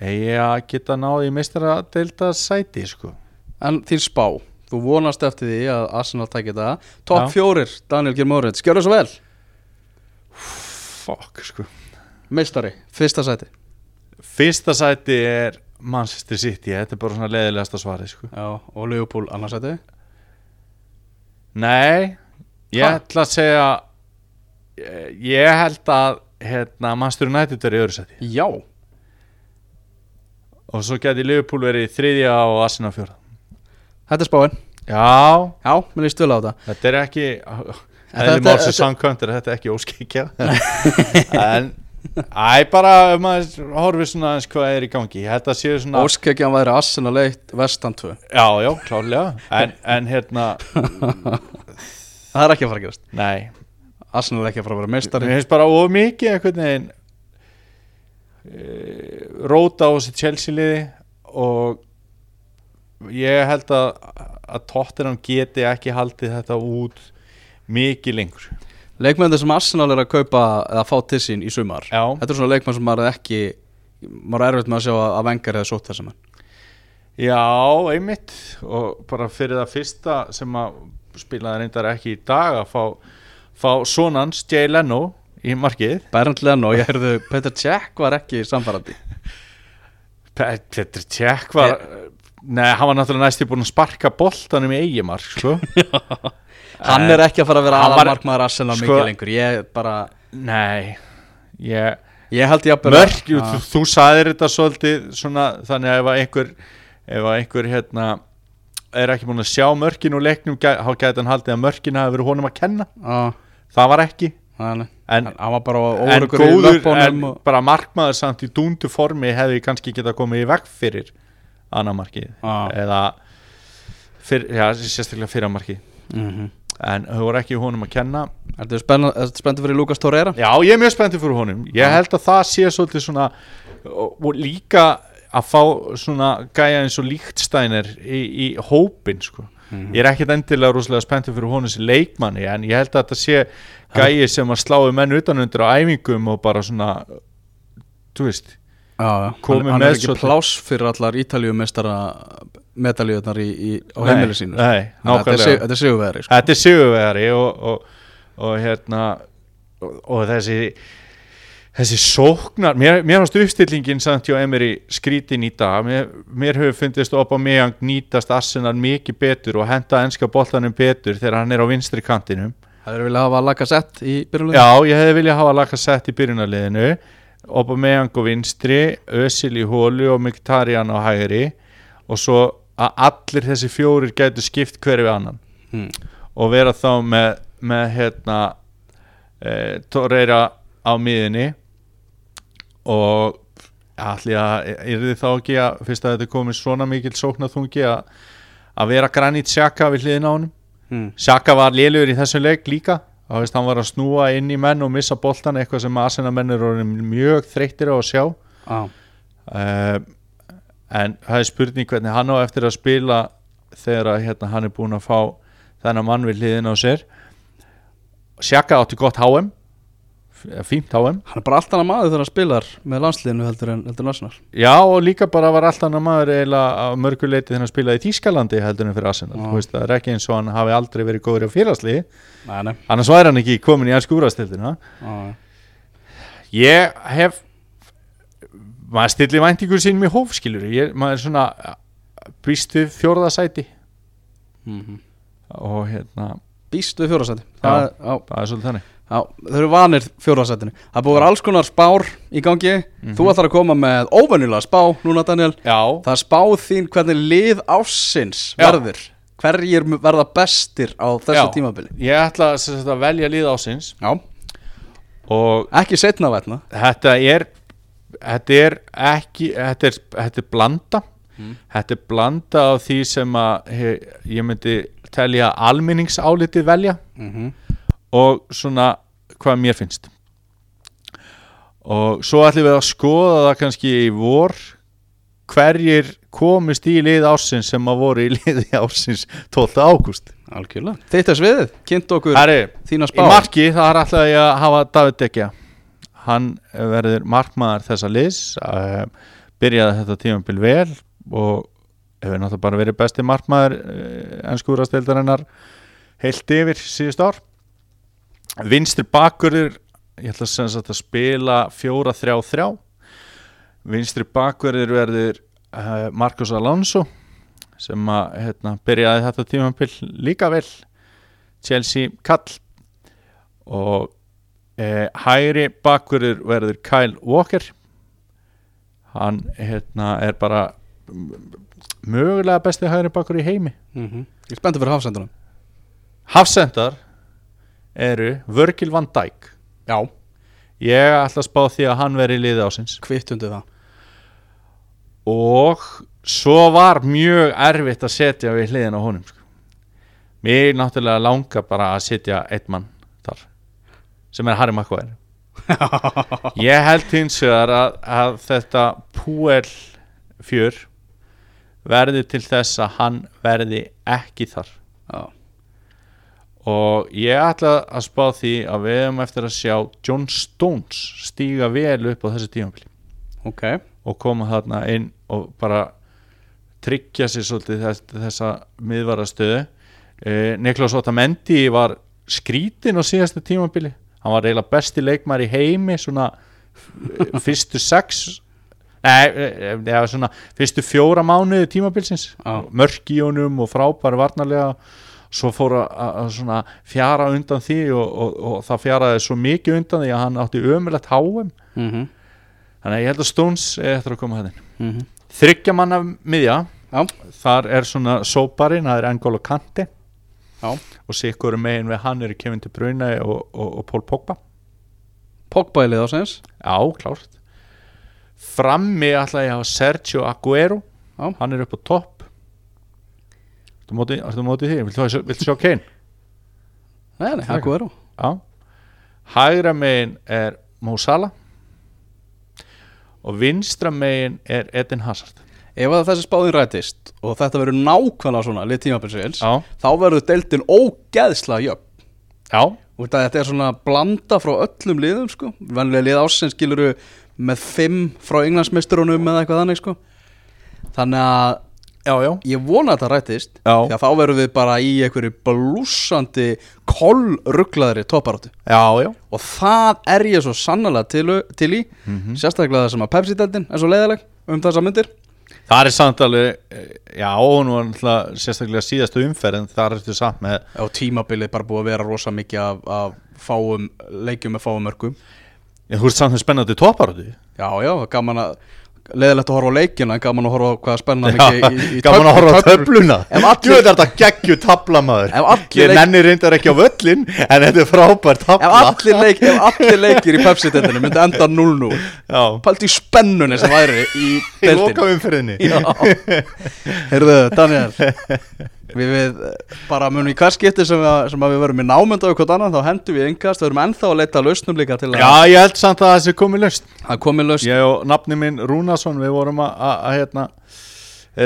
Speaker 3: eigi að geta náði í meistaradelda sæti sko.
Speaker 2: en þín spá, þú vonast eftir því að Arsenal tækir það top
Speaker 3: Já.
Speaker 2: fjórir, Daniel Gilmorrits, gjörðu svo vel
Speaker 3: Fuck, sko
Speaker 2: meistari, fyrsta sæti
Speaker 3: Fyrsta sæti er Manchester City, þetta er bara svona leiðilegasta svarið sko.
Speaker 2: já, og Liverpool annars sæti
Speaker 3: Nei, ég
Speaker 2: Ha?
Speaker 3: ætla að segja eh, ég held að hérna, Manchester United er í öðru seti
Speaker 2: já,
Speaker 3: og svo geti Liverpool verið í þriðja og Arsenal fjórða
Speaker 2: þetta er spáin
Speaker 3: Já,
Speaker 2: já, mér líst vel á þetta
Speaker 3: þetta er ekki
Speaker 2: En
Speaker 3: eða
Speaker 2: þetta-
Speaker 3: málsum
Speaker 2: þetta-
Speaker 3: samkvæmt er þetta ekki óskikja *laughs* en Æ, bara ef maður horfir svona aðeins hvað er í gangi Ég held að séu svona
Speaker 2: óskekjan væri Arsenal 1, Vestan 2
Speaker 3: Já, já, klárlega en, en hérna,
Speaker 2: það er ekki að fara að gerast
Speaker 3: nei
Speaker 2: Arsenal er ekki að fara að vera meistari
Speaker 3: Mér finnst bara of mikið einhvern veginn e, róta á þessi Chelsea liði og ég held að, að Tottenham geti ekki haldið þetta út mikið lengur
Speaker 2: leikmennir sem Arsenal er að kaupa eða fá til sín í sumar
Speaker 3: Já.
Speaker 2: þetta er svona leikmenn sem maður er ekki maður er erfitt með að sjá að að vengar eða sótt þessum
Speaker 3: Já, einmitt og bara fyrir það fyrsta sem að spilaði reyndar ekki í dag að fá, fá sonans Jay Leno í markið
Speaker 2: Bernd Leno, ég heyrðu Peter Cech var ekki samfærandi
Speaker 3: Pet- Petr Tjekk var Nei, hann var náttúrulega næstu búin að sparka boltanum í eigimark sko.
Speaker 2: Eh, hann er ekki að fara að vera
Speaker 3: hann var-
Speaker 2: aðalmarkmaður Arsenal
Speaker 3: sko-
Speaker 2: mikið lengur ég bara,
Speaker 3: Nei ég,
Speaker 2: ég held ég að
Speaker 3: Mörk, jú, þú, þú saðir þetta svolítið svona, þannig að ef að einhver ef að einhver hérna er ekki búin að sjá mörkin úr leiknum gæ- þá gæti hann haldið að mörkin hafi verið honum að kenna það var ekki
Speaker 2: hann
Speaker 3: en,
Speaker 2: hann var bara
Speaker 3: en
Speaker 2: órugur í
Speaker 3: góður, en
Speaker 2: löpunum og,
Speaker 3: bara markmaður samt í dúndu formi hefði kannski getað komið í veg fyrir annamarkið
Speaker 2: Já.
Speaker 3: eða fyr, já, sérstaklega fyrir markið
Speaker 2: mm -hmm.
Speaker 3: en þau voru ekki honum að kenna
Speaker 2: Ertu spenna- ertu spenntið fyrir Lucas Torreira?
Speaker 3: Já, ég er mjög spenntið fyrir honum Ég held að það sé svolítið svona og, og líka að fá svona gæja eins og líktstænir í, í hópin sko. Ég er ekkert endilega rosalega spenntið fyrir honum sem leikmanni en ég held að þetta sé gæji sem að sláu menn utanundur á æfingum og bara svona þú veist
Speaker 2: Já, já.
Speaker 3: Komið
Speaker 2: hann, hann
Speaker 3: með
Speaker 2: er ekki
Speaker 3: svolítið-
Speaker 2: pláss fyrir allar ítaljumestara medaljöðnar í, í, á
Speaker 3: Nei,
Speaker 2: heimili sínu sko.
Speaker 3: Nei,
Speaker 2: Þannig að þetta er sig-
Speaker 3: nákvæmlega
Speaker 2: þetta er sigurvegari sko.
Speaker 3: Þetta er sigurvegari og, og, og hérna og, og þessi þessi sóknar, mér, mér varst uppstillingin samt hjá Emery skrítin í dag mér, mér hefur fundist opa meðan nýtast Arsenal mikið betur og henda enska boltanum betur þegar hann er á vinstri kantinum
Speaker 2: það er vilja hafa laga sett í byrjulegu
Speaker 3: Já, ég hefði viljað hafa laka sett í byrjunarliðinu opa meðan og vinstri Özil í hólu og Mkhitaryan á hægri og svo að allir þessi fjórir gætu skipt hverfi annan
Speaker 2: hmm.
Speaker 3: og vera þá með, með hérna e, Torreira á miðinni og allir að, er þið þá ekki að fyrst að þetta er komið svona mikil sóknaþungi að, að vera granit Sjaka við hliðin á honum
Speaker 2: Mm.
Speaker 3: Sjaka var lélugur í þessum leik líka þá veist hann var að snúa inn í menn og missa boltan eitthvað sem Asena menn eru orðnir mjög þreyttir á að sjá
Speaker 2: Á,
Speaker 3: uh, en það er spurning hvernig hann á eftir að spila þegar að, hérna, hann er búinn að fá þennan mann við hliðin á sér Sjaka átti gott HM f- fínt HM
Speaker 2: Hann er bara allt annað maður þegar hann spilar með landsliðinu heldur en heldur en Arsenal
Speaker 3: Já og líka bara var allt annar maður eiginlega að mörgu leiti þegar hann spilaði í Tískalandi heldur en fyrir Arsenal,
Speaker 2: Já.
Speaker 3: þú veist það er ekki eins og hann hafi aldrei verið góður á félagslið
Speaker 2: Nei, nei
Speaker 3: annars væri hann ekki komin í ennsku úrastildina
Speaker 2: á,
Speaker 3: Ég hef maður stilli væntingur sín með hófskilur ég, maður er svona eh, býst við fjórða sæti
Speaker 2: mm
Speaker 3: og hérna,
Speaker 2: Býst við fjórasæti
Speaker 3: Já.
Speaker 2: Það er á,
Speaker 3: það er svolítið þannig
Speaker 2: Já, þau eru vanir fjórðarsættinu Það er búið að vera alls konar spár í gangi Þú ætlar að koma með óvenjulega spá núna Daniel
Speaker 3: Já,
Speaker 2: Það er spáð þín hvernig lið ásins
Speaker 3: Já.
Speaker 2: verður Hverjir mu- verða bestir á þessu
Speaker 3: Já.
Speaker 2: tímabili
Speaker 3: ég ætla sem sagt að velja lið ásins
Speaker 2: Já,
Speaker 3: og
Speaker 2: ekki setna vætna
Speaker 3: þetta er þetta er ekki þetta er, þetta er blanda þetta er blanda af því sem að he, ég myndi telja almenningsálitið velja
Speaker 2: mm -hmm.
Speaker 3: og svona hvað mér finnst og svo ætlum við að skoða það kannski í vor hverjir komist í lið ársins sem að voru í liði ársins 12. ágúst
Speaker 2: Algjörlega Þitt er sviðið, kynnt okkur
Speaker 3: Herri,
Speaker 2: þína
Speaker 3: í
Speaker 2: spá
Speaker 3: marki það er alltaf ég að hafa David Dekja hann verður markmaður þessa liðs uh, byrjaði þetta tímabil vel og hefur náttúrulega bara verið besti markmaður uh, ennskúrasteldarinnar heilt yfir síðust ár vinstri bakurður ég ætla sem sagt að spila 4-3-3 vinstri bakurður verður uh, Marcos Alonso sem að hérna, byrjaði þetta tímabil líka vel Chelsea kall og eh, hægri bakverður verður Kyle Walker hann hérna er bara m- mögulega besti hægri bakverður í heimi
Speaker 2: mm Ég er spenntur fyrir hafsendunum
Speaker 3: Hafsendar eru Virgil van Dijk
Speaker 2: Já
Speaker 3: ég ætla að spá því að hann veri í liði ásins
Speaker 2: Kvittundi það
Speaker 3: og svo var mjög erfitt að setja við hliðin á honum sko. mér náttúrulega langa bara að setja eitt mann þar sem er Harry Maguire ég held hins vegar að, að þetta púel fjör verður til þess að hann verði ekki þar
Speaker 2: Já,
Speaker 3: og ég ætla að spá því að við hefum eftir að sjá John Stones stíga vel upp á þessu tímanbili
Speaker 2: ok
Speaker 3: og koma þarna inn og bara tryggja sér svolítið þess, þessa miðvarastöðu eh, Niklas Otamendi var skrítin á síðasta tímabili hann var eiginlega besti leikmar í heimi svona eh, fyrstu sex nei, eh, eh, eða svona fyrstu fjóra mánuði tímabilsins
Speaker 2: Já.
Speaker 3: mörk í honum og frábæri varnarlega svo fór að- að að svona fjara undan því og, og, og það fjaraði svo mikið undan því að hann átti ömulegt háum
Speaker 2: mm -hmm.
Speaker 3: Þannig að ég held að Stones er eftir að koma hæðin Þryggja manna miðja
Speaker 2: Já,
Speaker 3: Þar er svona sóparinn, það er Engolo Kanti
Speaker 2: já
Speaker 3: Og sikkur megin við hann eru Kevin De Bruyne og, og, og Paul Pogba
Speaker 2: Pogba í lið ásins
Speaker 3: Já, klárt Frammi ætla ég að hafa Sergio Aguero
Speaker 2: Já.
Speaker 3: Hann er upp á topp Ertu á móti- ertu á móti því? Viltu, viltu, viltu sjá Kane?
Speaker 2: Nei, nei, Akku eru
Speaker 3: Já Hægra megin er Mo Salah Og vinstra megin er Eden Hazard
Speaker 2: Ef að þessi spáðin rætist og þetta verður nákvæmlega svona lið tímabilsins
Speaker 3: Já.
Speaker 2: þá verður deildin ógeðslega jöfn
Speaker 3: Já,
Speaker 2: Úr það að þetta er svona blanda frá öllum liðum sko Venlega lið ásins skiluru með fimm frá englandsmeisturunum eða eitthvað þannig sko Þannig að
Speaker 3: já, já
Speaker 2: ég vona að þetta rætist
Speaker 3: Já.
Speaker 2: því að þá verðum við bara í einhverju blúsandi kollruglaðri topparáttu
Speaker 3: Já, já
Speaker 2: og það er ég svo sannlega til, til í
Speaker 3: Mhm.
Speaker 2: sérstaklega það sem að Pepsi-deltin er svo leiðileg um þessa myndir
Speaker 3: Það er samt alveg, eh, já, hún var náttúrulega sérstaklega síðastu umferð en það er eftir samt með
Speaker 2: og tímabilið bara búið að vera rosa mikið af, af fáum leikjum með fáum mörgum
Speaker 3: en þú ert samt með spennandi toparöðu
Speaker 2: já já, gaman að leðilegt að horfa á leikina en gaman að horfa á hvað spennan
Speaker 3: Já,
Speaker 2: ekki í, í
Speaker 3: *laughs* gaman að
Speaker 2: töfl-
Speaker 3: horfa á
Speaker 2: töflur.
Speaker 3: töfluna
Speaker 2: Ef allir-
Speaker 3: Jú, þetta er geggju tabla maður
Speaker 2: Ef allir
Speaker 3: Ég
Speaker 2: leik-
Speaker 3: nenni reyndar ekki á völlin En þetta er frábær tabla
Speaker 2: Ef allir, leik, ef allir leikir í Pepsi-deltinu myndi enda 0-0
Speaker 3: Já,
Speaker 2: Paldi í spennunni sem væri í
Speaker 3: *laughs* í
Speaker 2: deltinu
Speaker 3: lokaumferðinni
Speaker 2: Heyrðu, Daniel Við, við eh, bara munum í hvert skipti sem, að, sem að við verum í námönda og hvort annað þá hendum við yngast, við erum ennþá að leita að lausnum líka til að,
Speaker 3: Já, ég held samt að þessi komið löst
Speaker 2: að komi lausn
Speaker 3: Ég og nafni minn Rúnason, við vorum að- að að, hérna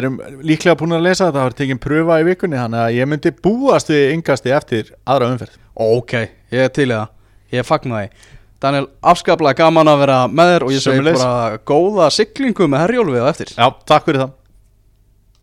Speaker 3: erum líklega búin að lesa þetta það var tekin pröfa í vikunni þannig að ég myndi búast við yngasti eftir aðra umferð
Speaker 2: Ok, ég er til í það, ég fagna því Daniel, afskaplega gaman að vera með þér og ég segi
Speaker 3: Sömuleiðis.
Speaker 2: bara góða siglingu með herjólfið á eftir
Speaker 3: Já, takk fyrir það